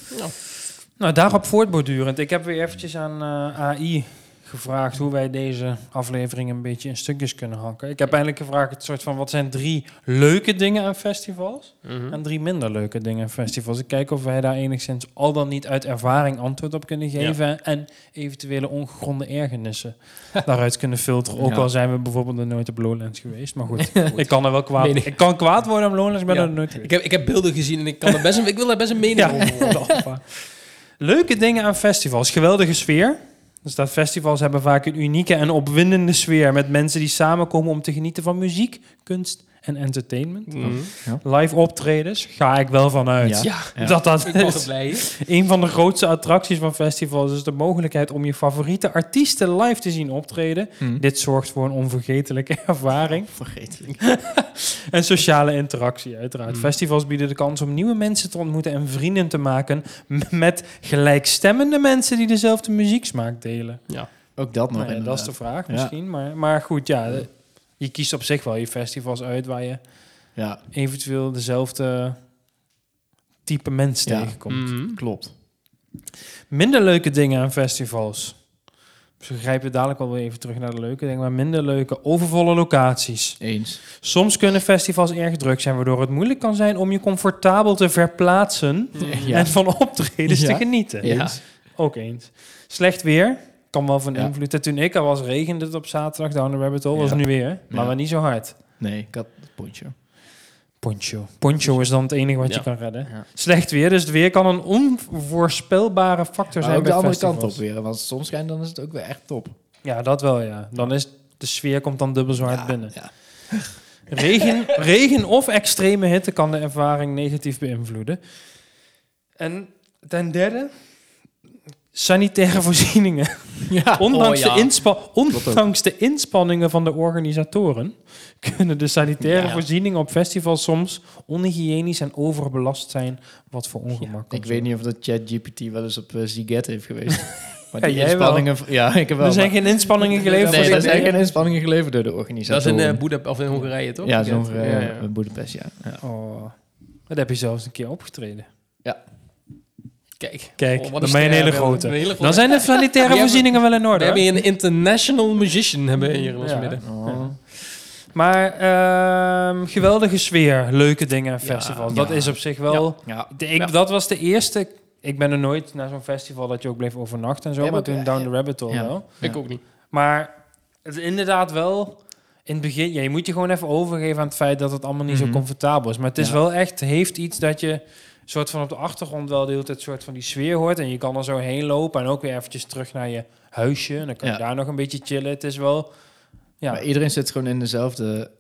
A: Nou, daarop voortbordurend. Ik heb weer eventjes aan eh, AI gevraagd hoe wij deze aflevering een beetje in stukjes kunnen hakken. Ik heb eigenlijk gevraagd het soort van wat zijn drie leuke dingen aan festivals
B: Mhm.
A: en drie minder leuke dingen aan festivals. Ik kijk of wij daar enigszins al dan niet uit ervaring antwoord op kunnen geven en eventuele ongegronde ergernissen daaruit kunnen filteren. Ook
C: Ja.
A: al zijn we bijvoorbeeld nog nooit op Lowlands geweest, maar goed, ik kan er wel kwaad.
B: Nee, nee.
A: Ik kan kwaad worden op Lowlands, maar
B: Ja.
A: dan nooit. geweest.
B: Ik, heb, ik heb beelden gezien en ik, kan er best een, ik wil daar best een mening
A: Ja.
B: over horen.
A: Leuke dingen aan festivals. Geweldige sfeer. Dus dat festivals hebben vaak een unieke en opwindende sfeer met mensen die samenkomen om te genieten van muziek, kunst en entertainment.
B: Mhm.
A: Live optredens, ga ik wel vanuit.
C: Ja.
B: Ja,
C: Ja.
A: Dat dat
B: ik mag het
A: is.
B: blij.
A: een van de grootste attracties van festivals is de mogelijkheid om je favoriete artiesten live te zien optreden.
C: Hm.
A: Dit zorgt voor een onvergetelijke ervaring
C: Vergeet het.
A: en sociale interactie uiteraard.
C: Hm.
B: Hmm.
A: Festivals bieden de kans om nieuwe mensen te ontmoeten en vrienden te maken m- met gelijkstemmende mensen die dezelfde muzieksmaak delen.
C: Ook dat nog.
A: Nou ja, dat is de vraag
C: Ja. Hm.
A: misschien, maar, maar goed, ja, de- je kiest op zich wel je festivals uit waar je
C: Ja,
A: eventueel dezelfde type mens
C: Ja.
A: tegenkomt.
B: Mhm.
C: klopt.
A: Minder leuke dingen aan festivals. Dus we grijpen dadelijk wel weer even terug naar de leuke dingen, maar minder leuke, overvolle locaties.
C: Eens.
A: Soms kunnen festivals erg druk zijn, waardoor het moeilijk kan zijn om je comfortabel te verplaatsen
B: Mhm.
C: Ja.
A: en van optredens te
C: Ja.
A: genieten.
B: Ja.
C: Eens.
A: Ook eens. Slecht weer kan wel van
C: Ja.
A: invloed. zijn. Toen ik er was, regende het op zaterdag. Down the rabbit hole was
C: Ja.
A: nu weer, maar
C: Ja.
A: wel niet zo hard.
C: Nee, ik had het pontje.
A: Poncho. Poncho is dan het enige wat
B: Ja.
A: je kan redden.
C: Ja.
A: Slecht weer, dus het weer kan een onvoorspelbare factor
C: Maar
A: zijn
C: ook
A: bij
C: de andere
A: festivals.
C: kant op weer. Want als het zon schijnt, dan is het ook weer echt top.
A: Ja, dat wel, ja. Dan is de sfeer komt dan dubbel zo hard
C: Ja,
A: binnen.
C: Ja.
A: Regen, regen of extreme hitte kan de ervaring negatief beïnvloeden. En ten derde, sanitaire voorzieningen. Ondanks,
B: Oh, ja.
A: de, inspa-
C: ook.
A: ondanks de inspanningen van de organisatoren kunnen de sanitaire
B: Ja.
A: voorzieningen op festivals soms onhygiënisch en overbelast zijn, wat voor ongemak. kan
C: Ik weet
A: zorgen.
C: niet of dat ChatGPT wel eens op eh, Ziget heeft geweest. maar
A: Ja,
C: die
A: jij wel.
C: inspanningen... Ja, ik heb wel.
A: Er zijn
C: maar-
A: geen inspanningen geleverd
C: Nee,
A: voor
C: er zijn
A: sanitaire-
C: geen inspanningen geleverd door de
B: Dat is
C: organisatie.
B: in eh, Boedap- of in Hongarije, toch?
C: Ja,
B: Ik
C: zo'n
B: weet
C: eh,
B: het. Ja, ja.
C: eh, Boedapest, ja. ja.
A: Oh, dat heb je zelfs een keer opgetreden.
B: Kijk,
A: Kijk,
B: Oh, wat
A: dan ben je een
B: ster,
A: hele
B: ja,
A: grote.
B: een hele grote.
A: Dan zijn de sanitaire
B: We hebben-
A: voorzieningen wel in
B: we
A: orde.
B: hebben
A: hoor.
B: hier een international musician hebben we hier in ons
A: Ja.
B: midden.
C: Oh.
A: Maar ehm, geweldige sfeer, leuke dingen aan
B: Ja,
A: festivals.
B: ja.
A: dat is op zich wel...
C: Ja.
A: De- ik,
B: Ja.
A: Dat was de eerste... Ik ben er nooit naar zo'n festival dat je ook bleef overnachten en zo.
C: Ja,
A: maar
C: maar-
A: toen
C: ja,
A: Down
C: ja.
A: the Rabbit Hole
C: Ja.
A: wel.
B: Ik ook niet.
A: Maar het is inderdaad wel... In het begin, ja, je moet je gewoon even overgeven aan het feit dat het allemaal niet
C: Mhm.
A: zo comfortabel is. Maar het is
C: Ja.
A: wel echt, heeft iets dat je soort van op de achtergrond wel de hele tijd soort van die sfeer hoort. En je kan er zo heen lopen en ook weer eventjes terug naar je huisje. En dan kan je
C: Ja.
A: daar nog een beetje chillen. Het is wel, ja.
C: Maar iedereen zit gewoon in dezelfde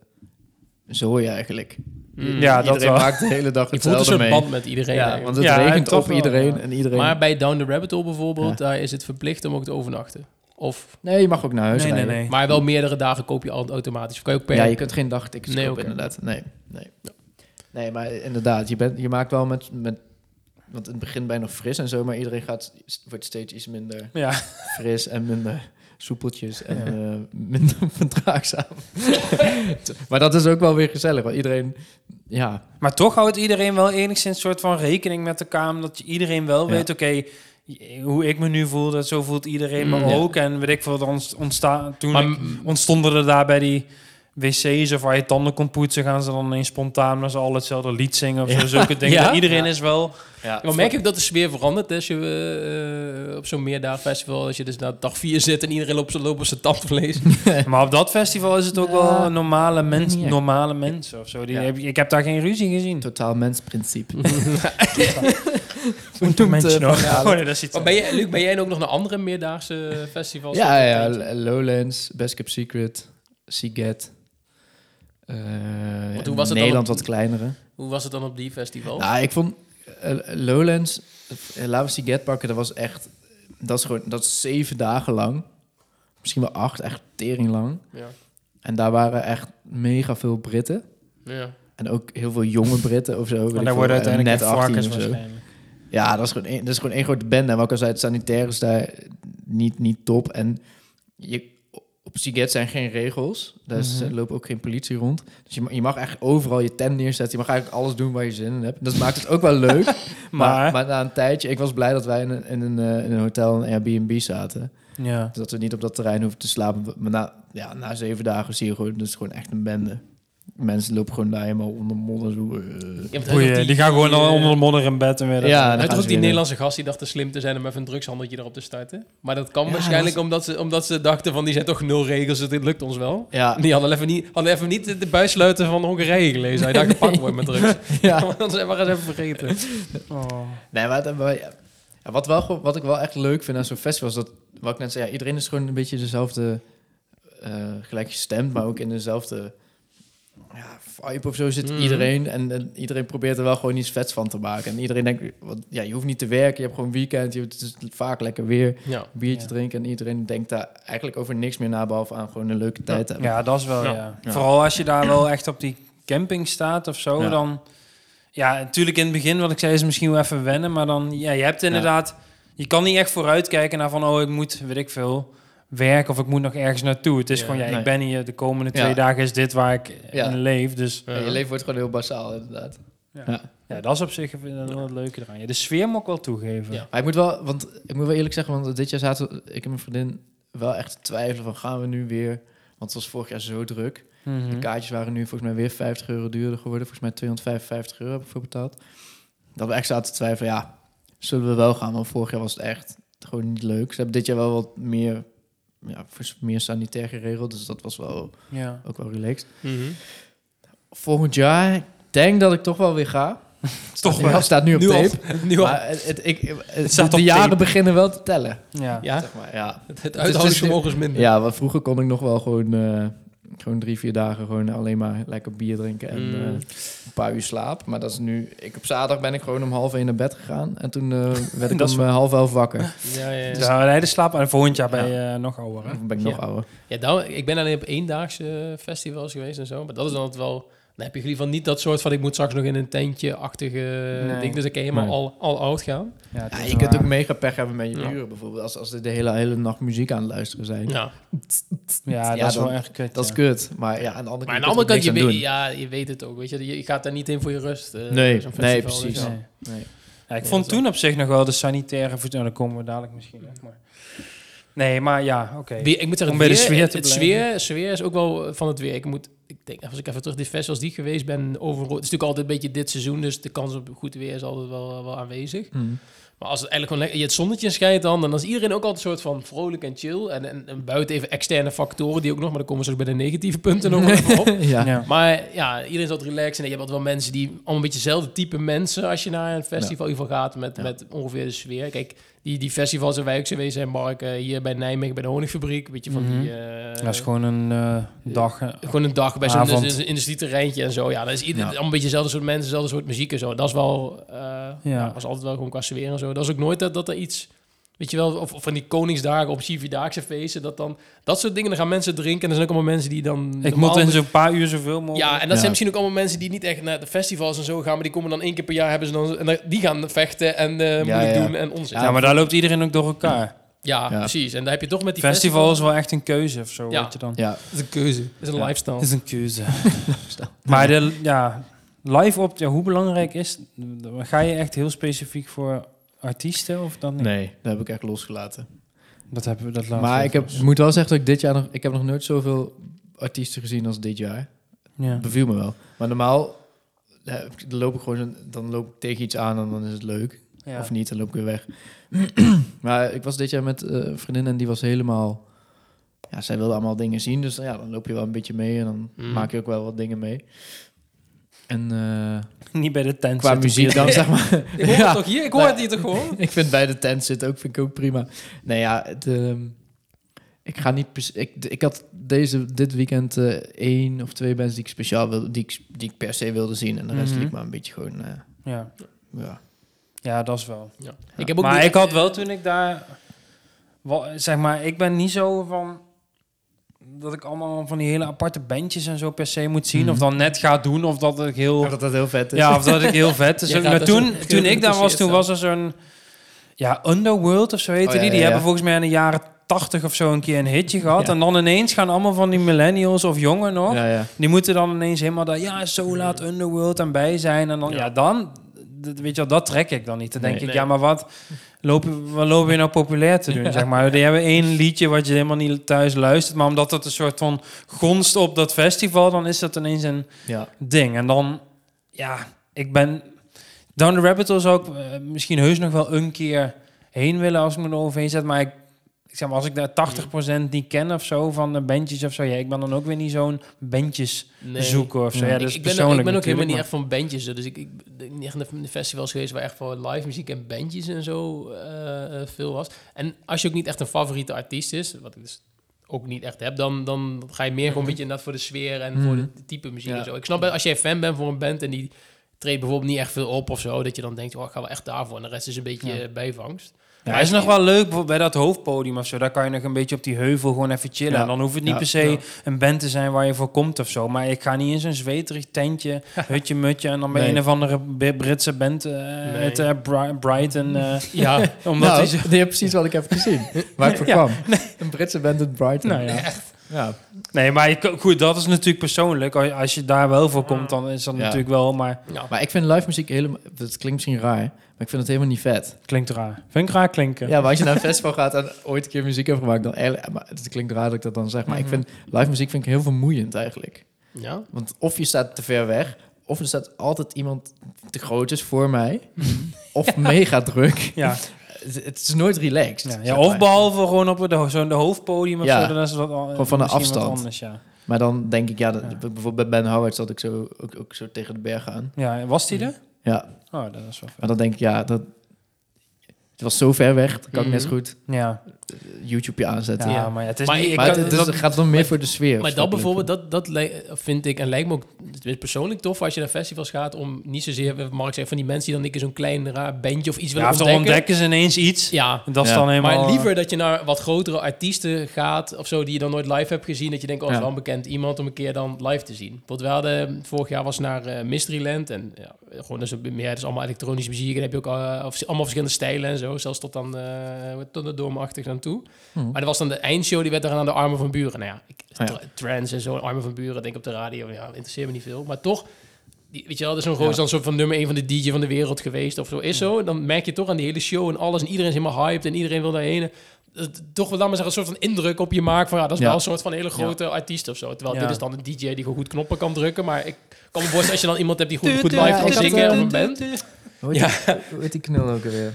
C: zooi eigenlijk.
B: Mm.
A: Ja, dat
C: iedereen
A: wel.
C: maakt de hele dag
B: je voelt een
C: hetzelfde
B: soort
C: mee.
B: band met iedereen.
C: Ja,
B: eigenlijk.
C: want het
A: Ja, en
C: regent
A: toch
C: op
A: wel,
C: iedereen
A: ja.
C: en iedereen...
B: Maar bij Down the Rabbit Hole bijvoorbeeld,
C: Ja.
B: daar is het verplicht om ook te overnachten. Of,
C: Nee, je mag ook naar huis
A: Nee, nee,
C: rijden.
A: nee.
B: maar wel meerdere dagen koop je al automatisch. Of kan je ook per
C: Ja, je kunt geen dagtickets
B: Nee,
C: kopen,
B: oké.
C: inderdaad. Nee, nee. Nee, maar inderdaad, je, bent, je maakt wel met, met... Want in het begin ben je nog fris en zo, maar iedereen gaat, wordt steeds iets minder
A: Ja.
C: fris en minder soepeltjes en eh, minder verdraagzaam. maar dat is ook wel weer gezellig, want iedereen... Ja,
A: Maar toch houdt iedereen wel enigszins soort van rekening met elkaar. Omdat je- iedereen wel
C: Ja.
A: weet, oké, j- hoe ik me nu voel, dat zo voelt iedereen me
B: Mm, ja.
A: ook. En weet ik veel, er ontsta- ontstaan, toen
B: Maar-
A: ik- ontstonden er daar bij die wc's of waar je tanden kon poetsen, gaan ze dan ineens spontaan maar ze al hetzelfde lied zingen of zo, zulke dingen.
B: Ja?
A: Iedereen
C: Ja.
A: is wel...
C: ja.
B: Maar merk je ook dat de sfeer verandert als je eh, op zo'n meerdaagfestival, als je dus na dag 4 zit en iedereen loopt, loopt op zijn tandvlees.
A: Maar op dat festival is het ook
C: Ja.
A: wel een normale, mens,
C: Niet echt.
A: normale mensen of zo. Die
C: Ja.
A: heb, ik heb daar geen ruzie gezien.
C: Totaal mensprincipe.
A: Toen toen mensen
C: eh,
A: nog.
C: ja,
A: Oh, nee, dat is iets
B: Maar ben jij, Luc, ben jij ook nog naar andere meerdaagse festivals?
C: Ja, ja, L- Lowlands, Best Kept Secret, Seagate. Eh,
B: hoe was het
C: Nederland
B: dan Oh. op-
C: wat kleinere.
B: Hoe was het dan op die festival?
C: Nou, ik vond eh, Lowlands, eh, laten we Seagate pakken, dat was echt, dat is gewoon, dat is zeven dagen lang. Misschien wel acht, echt tering lang.
B: Ja.
C: En daar waren echt mega veel Britten.
B: Ja.
C: En ook heel veel jonge Britten of zo. weet ik
A: Maar daar
C: veel,
A: worden
C: eh,
A: uiteindelijk
C: net 18
A: varkens
C: of zo.
A: waarschijnlijk.
C: Ja, dat is gewoon één, dat is gewoon één grote bende. En wat ik al zei, het sanitair is daar niet, niet top. En je, op Siget zijn geen regels. Dus
A: Mhm.
C: er loopt ook geen politie rond. Dus je, ma- je mag eigenlijk overal je tent neerzetten. Je mag eigenlijk alles doen waar je zin in hebt. Dat maakt het ook wel leuk. maar,
A: Maar-
C: maar na een tijdje, ik was blij dat wij in een, in een, eh, in een hotel, een Airbnb zaten.
A: Ja.
C: Dus dat we niet op dat terrein hoeven te slapen. Maar na, ja, na zeven dagen zie je gewoon, dat is gewoon echt een bende. Mensen lopen gewoon daar helemaal onder modder. Zo, eh.
B: Ja, want
A: Goeie,
B: hij had
A: die,
B: ook
A: gaan gewoon
B: die,
A: al
B: eh,
A: onder de modder in bed en weer.
C: Ja,
A: Ja,
C: dan
B: Hij
C: gaan
B: had ook
C: ze
B: die
C: weer eh,
B: Nederlandse gast die dacht te slim te zijn om even een drugshandeltje erop te starten. Maar dat kan
C: Ja,
B: waarschijnlijk
C: dat
B: Omdat, ze, omdat ze dachten van die zijn toch nul regels, dus dit lukt ons wel.
C: Ja,
B: Die hadden even niet, hadden even niet de- de buissluiten van Hongarije gelezen. Hij dacht, pak wordt met drugs.
C: ja.
B: Want ze waren ze even vergeten.
A: Oh.
C: Nee, maar, het- maar- ja, wat, wel, gewoon- wat ik wel echt leuk vind aan zo'n festival is dat, wat ik net zei, ja, iedereen is gewoon een beetje dezelfde, eh, gelijk gestemd, maar ook in dezelfde ja, vibe of zo zit
B: Mhm.
C: iedereen. En, en iedereen probeert er wel gewoon iets vets van te maken. En iedereen denkt, wat, ja, je hoeft niet te werken, je hebt gewoon weekend, je, het is vaak lekker weer, een
B: Ja.
C: biertje
A: Ja.
C: drinken. En iedereen denkt daar eigenlijk over niks meer na, behalve aan gewoon een leuke tijd te hebben.
A: Ja, dat is wel,
B: Ja.
A: ja.
C: Ja.
A: Vooral als je daar wel echt op die camping staat of zo,
C: Ja.
A: dan... Ja, natuurlijk in het begin, wat ik zei, is misschien wel even wennen. Maar dan, ja, je hebt inderdaad... Je kan niet echt vooruitkijken naar van, oh, ik moet, weet ik veel, werken of ik moet nog ergens naartoe. Het is
B: Ja.
A: gewoon, ja,
C: Nee.
A: ik ben hier, de komende
C: Ja.
A: twee dagen is dit waar ik
C: Ja.
A: in leef. Dus
C: Ja,
B: Eh,
C: je leven wordt gewoon heel basaal, inderdaad.
A: ja, dat is op zich wel het leuke eraan. Ja, de sfeer moet ik wel toegeven.
B: Ja.
C: Maar ik moet wel, want ik moet wel eerlijk zeggen, want dit jaar zaten we- ik en mijn vriendin wel echt te twijfelen van gaan we nu weer, want het was vorig jaar zo druk.
A: Mhm.
C: De kaartjes waren nu volgens mij weer 50 euro duurder geworden, volgens mij 255 euro heb ik voor betaald. Dat we echt zaten te twijfelen, ja, zullen we wel gaan, want vorig jaar was het echt gewoon niet leuk. Ze hebben dit jaar wel wat meer, ja, vers- meer sanitair geregeld, dus dat was wel
A: Ja.
C: ook wel relaxed. Volgend jaar ik denk dat ik toch wel weer ga.
A: Toch
C: Ja,
A: wel.
C: staat nu op
B: Nu al.
C: tape.
B: Nu al.
C: Maar het, het- ik, het-
A: staat
C: de
A: op
C: jaren
A: tape.
C: beginnen wel te tellen.
A: Ja.
B: Ja,
C: Zeg maar, ja.
B: het, het
C: is- dus-
B: uithoudingsvermogen is minder.
C: Ja, want vroeger kon ik nog wel gewoon, eh, gewoon drie, vier dagen gewoon alleen maar lekker bier drinken en
B: Mm.
C: eh, een paar uur slaap. Maar dat is nu, ik op zaterdag ben ik gewoon om half één naar bed gegaan en toen eh, werd ik
A: Dat is
C: om eh, half elf wakker.
B: Ja, ja, ja.
A: Dus dan wij de slaap en volgend jaar ben je eh, nog ouder. Hè?
C: Dan ben ik nog
B: Ja.
C: ouder.
B: Ja, dan, ik ben alleen op eendaagse festivals geweest en zo. Maar dat is dan altijd wel... Dan heb je in ieder geval niet dat soort van... ik moet straks nog in een tentje-achtige
A: Nee.
B: ding. Dus dan kan je helemaal
C: Nee.
B: al, al oud gaan.
A: Ja, het
C: Ja,
A: is
C: je kunt
A: waar.
C: ook mega pech hebben met je
B: Ja.
C: uren bijvoorbeeld, als, als ze de hele, hele nacht muziek aan het luisteren zijn.
B: Ja.
A: Ja, dat
C: Ja,
A: is wel
C: dan-
A: echt kut.
C: Dat is
A: ja.
C: kut, maar ja, aan de andere
B: Maar aan
C: kant
B: de andere kant, je
C: kun
B: weet,
C: je er
B: ja, je weet het ook. Weet je, je gaat daar niet in voor je rust. eh,
C: Nee,
B: zo'n
C: nee,
B: festival,
C: precies.
B: ja.
A: Nee.
C: niks aan doen. Nee.
A: Ja, ik
C: Nee,
A: vond
C: dat is
A: toen op zich nog wel de sanitaire voet. Nou, daar komen we dadelijk misschien op. Maar... Nee, maar ja, oké.
B: Weer- ik moet zeggen,
A: Om bij
B: het
A: de
B: weer-
A: sfeer te
B: het
A: blijven.
B: sfeer, sfeer is ook wel eh, van het weer. Ik moet, ik denk, als ik even terug die festivals die ik geweest ben, overal, het is natuurlijk altijd een beetje dit seizoen, dus de kans op goed weer is altijd wel, wel aanwezig.
C: Mm.
B: Maar als het eigenlijk gewoon lekker, je het zonnetje schijnt dan, dan is iedereen ook altijd een soort van vrolijk en chill. En, en, en buiten even externe factoren die ook nog, maar dan komen ze ook bij de negatieve punten nog wel even op.
C: Mm. Ja.
A: Ja.
B: Maar ja, iedereen is altijd relaxed. En je hebt altijd wel mensen die allemaal een beetje hetzelfde type mensen als je naar een festival in ieder geval gaat met,
C: Ja.
B: met ongeveer de sfeer. Kijk, die, die festivals en wijk zijn wezen en Mark eh, hier bij Nijmegen bij de honingfabriek. Weet je van
A: Mhm.
B: die. eh,
A: dat is gewoon een eh, dag. eh,
B: gewoon een dag bij zo'n
A: avond.
B: dus- dus een industrieterreintje en zo. Ja, dat is ieder,
C: Ja.
B: allemaal een beetje dezelfde soort mensen, dezelfde soort muziek en zo. Dat is wel, eh, ja. dat is altijd wel gewoon qua sfeer en zo. Dat is ook nooit dat, dat er iets, weet je wel, of, of van die koningsdagen op Sivierdaagse feesten, dat dan, dat soort dingen, dan gaan mensen drinken en er zijn ook allemaal mensen die dan...
A: Ik
B: normaal
A: moet in zo'n paar uur zoveel mogelijk.
B: ja, en dat
C: Ja.
B: zijn misschien ook allemaal mensen die niet echt naar de festivals en zo gaan, maar die komen dan één keer per jaar hebben ze dan en dan- die gaan vechten en eh moeilijk
C: ja.
B: doen en onzin.
A: Ja,
B: Ja,
A: maar daar loopt iedereen ook door elkaar.
C: Ja.
B: precies. En daar heb je toch met die
A: Festival is wel echt een keuze of zo.
B: Ja.
A: Weet je dan.
C: ja.
B: is een keuze, is een
A: Ja.
B: lifestyle.
A: Het is een keuze. maar de, ja, live op, ja, hoe belangrijk is. Ga je echt heel specifiek voor artiesten of dan? niet?
C: Nee, dat heb ik echt losgelaten.
A: Dat hebben we dat laatst.
C: Maar ik heb,
A: over.
C: moet wel zeggen dat ik dit jaar nog... Ik heb nog nooit zoveel artiesten gezien als dit jaar.
A: Ja.
C: Dat beviel me wel. Maar normaal eh, heb ik- dan loop ik gewoon zo'n- dan loop ik tegen iets aan en dan is het leuk.
A: Ja.
C: Of niet, dan loop ik weer weg. maar ik was dit jaar met eh, een vriendin en die was helemaal... Ja, zij wilde allemaal dingen zien. Dus ja, dan loop je wel een beetje mee en dan
B: Mm.
C: maak je ook wel wat dingen mee. En eh,
A: Niet bij de tent.
C: qua
A: zitten
C: muziek dan, zeg maar.
B: Ik hoor
C: Ja.
B: het toch hier? Ik hoor
C: Nee.
B: het hier toch gewoon?
C: Ik vind bij de tent zitten ook, vind ik ook prima. Nou ja, het, ehm, ik ga niet... pers- Ik, ik had deze, dit weekend eh, één of twee bands die ik speciaal wilde... Die ik, die ik per se wilde zien. En de rest
A: Mhm.
C: liep maar een beetje gewoon... eh,
A: Ja.
C: ja.
A: ja, dat is wel.
B: Ja. Ik heb ook
A: maar
B: niet-
A: ik had wel toen ik daar... wa- Zeg maar, ik ben niet zo van... Dat ik allemaal van die hele aparte bandjes en zo per se moet zien.
C: Mhm.
A: Of dan net ga doen. Of dat ik heel...
C: dat dat heel vet is.
A: Ja, of dat ik heel vet is.
B: Jij gaat
A: Maar
B: er
A: toen,
B: zo
A: toen ik daar was, toen
B: geïnteresseerd
A: was er zo'n... Ja, Underworld of zo heette
C: Oh, ja,
A: die. Die
C: ja, ja.
A: hebben volgens mij in de jaren tachtig of zo een keer een hitje gehad.
B: Ja.
A: En dan ineens gaan allemaal van die millennials of jongen nog.
C: Ja, ja.
A: Die moeten dan ineens helemaal daar, ja, zo laat Underworld aan bij zijn. En dan, ja,
B: Ja.
A: dan, d- weet je wel, dat trek ik dan niet. Dan denk
C: Nee.
A: ik,
B: Nee.
A: ja, maar wat lopen, wat lopen we nou populair te doen, zeg maar. Die hebben één liedje wat je helemaal niet thuis luistert. Maar omdat dat een soort van gonst op dat festival, dan is dat ineens een
C: ja.
A: ding. En dan, ja, ik ben... Down the Rabbit Hole zou ik eh, misschien heus nog wel een keer heen willen als ik me eroverheen zet. Maar ik, ik zeg maar, als ik daar 80% niet ken of zo van de bandjes of zo... Ja, ik ben dan ook weer niet zo'n bandjes
B: Nee.
A: zoeken of zo. Ja,
C: Ja.
A: dat is
B: ik, ik ben, ook-
A: persoonlijk
B: ik ben ook helemaal niet
A: natuurlijk,
B: echt van bandjes. hè. Dus ik, ik ben niet echt naar de festivals geweest waar echt voor live muziek en bandjes en zo eh, eh, veel was. En als je ook niet echt een favoriete artiest is, wat ik dus ook niet echt heb, dan, dan ga je meer gewoon een beetje inderdaad voor de sfeer en voor
A: Mhm.
B: het type muziek
C: Ja.
B: en zo. Ik snap wel, als jij fan bent voor een band en die treedt bijvoorbeeld niet echt veel op of zo, dat je dan denkt, oh, ik ga wel echt daarvoor. En de rest is een beetje
C: Ja.
B: eh, bijvangst.
A: maar hij is nog wel leuk bijvoorbeeld bij dat hoofdpodium of zo. Daar kan je nog een beetje op die heuvel gewoon even chillen.
C: Ja.
A: En dan hoeft het niet
C: Ja.
A: per se
B: Ja.
A: een band te zijn waar je voor komt of zo. Maar ik ga niet in zo'n zweterig tentje, hutje mutje... en dan bij
C: Nee.
A: een of andere Bi- Britse band eh uit eh, Bri- Brighton. eh,
B: Ja,
A: omdat
C: nou,
A: die zo-
C: die heb precies wat ik heb gezien. Waar ik voor
A: Ja,
C: kwam. Een Britse band uit Brighton.
A: Nou ja.
C: ja.
A: Nee, maar je kan- goed, dat is natuurlijk persoonlijk. Als- Als je daar wel voor komt, dan is dat
C: Ja.
A: natuurlijk wel... maar
B: ja.
C: Maar ik vind live muziek helemaal... Dat klinkt misschien raar, maar ik vind het helemaal niet vet.
A: klinkt raar. Vind ik raar klinken.
C: Ja, maar als je naar een festival gaat en ooit een keer muziek hebt gemaakt... dan eigenlijk, maar het klinkt raar dat ik dat dan zeg.
A: Mhm.
C: Maar ik vind live muziek vind ik heel vermoeiend eigenlijk.
B: ja.
C: Want of je staat te ver weg... of er staat altijd iemand te groot is voor mij...
A: Mhm.
C: of mega druk.
A: Ja.
C: Het, het is nooit relaxed.
A: Ja,
C: zeg
A: ja, of
C: maar.
A: behalve gewoon op de, zo'n de hoofdpodium of
C: Ja.
A: zo, dan is het wat, al-
C: Gewoon van de
A: misschien wat
C: afstand.
A: Anders, ja.
C: Maar dan denk ik, ja, dat,
A: Ja.
C: bijvoorbeeld bij Ben Howard zat ik zo, ook, ook zo tegen de berg aan.
A: ja, en was die er?
C: Ja,
A: Oh, dat is wel
C: maar dan denk ik, ja, dat, het was zo ver weg, dat kan ik net zo
B: Mhm.
C: goed
A: Ja,
C: eh, YouTube je aanzetten.
A: ja,
C: Ja.
A: maar ja, het is
B: Maar
A: niet... ik
C: Maar
A: kan-
C: het, het is-
A: dat-
C: het gaat dan meer voor de sfeer.
B: Maar dat
C: snap ik.
B: bijvoorbeeld, dat, dat lij- vind ik en lijkt me ook tenminste persoonlijk tof als je naar festivals gaat om niet zozeer, eh, Mark zegt, van die mensen die dan een keer zo'n klein raar bandje of iets
A: ja,
B: willen
A: of dan
B: ontdekken.
A: ontdekken ze ineens iets.
B: Ja,
A: Dat is
C: Ja.
A: dan helemaal...
B: maar
C: eh,
B: liever dat je naar wat grotere artiesten gaat of zo, die je dan nooit live hebt gezien, dat je denkt, oh, dat is
C: Ja.
B: wel een bekend iemand om een keer dan live te zien. Want we hadden, ehm, vorig jaar was naar eh, Mysteryland en ja, gewoon, dat is, meer, dat is allemaal elektronische muziek en dan heb je ook eh, of- allemaal verschillende stijlen en zo, zelfs tot dan, eh tot de doormachtig aan toe.
C: Hm.
B: Maar dat was dan de eindshow, die werd dan aan de armen van buren. Nou ja, ik,
C: Ja.
B: tra- trance en zo, armen van buren, denk ik op de radio. Ja, interesseert me niet veel. Maar toch, die, weet je wel, dat is zo'n gozer
C: Ja.
B: dan soort van nummer 1 van de DJ van de wereld geweest of zo. Is zo, dan merk je toch aan die hele show en alles. En iedereen is helemaal hyped en iedereen wil daarheen. En dat- Toch wel, laat maar zeggen, een soort van indruk op je maakt van ja, dat is
C: Ja.
B: wel een soort van hele grote artiest of zo. Terwijl
A: Ja.
B: dit is dan een DJ die gewoon goed knoppen kan drukken. Maar ik kan me voorstellen, als je dan iemand hebt die goed, goed
C: tuut,
B: live kan
C: tuut,
B: zingen of
C: tuut,
B: een band.
C: Hoe heet, die, hoe heet die knul ook alweer?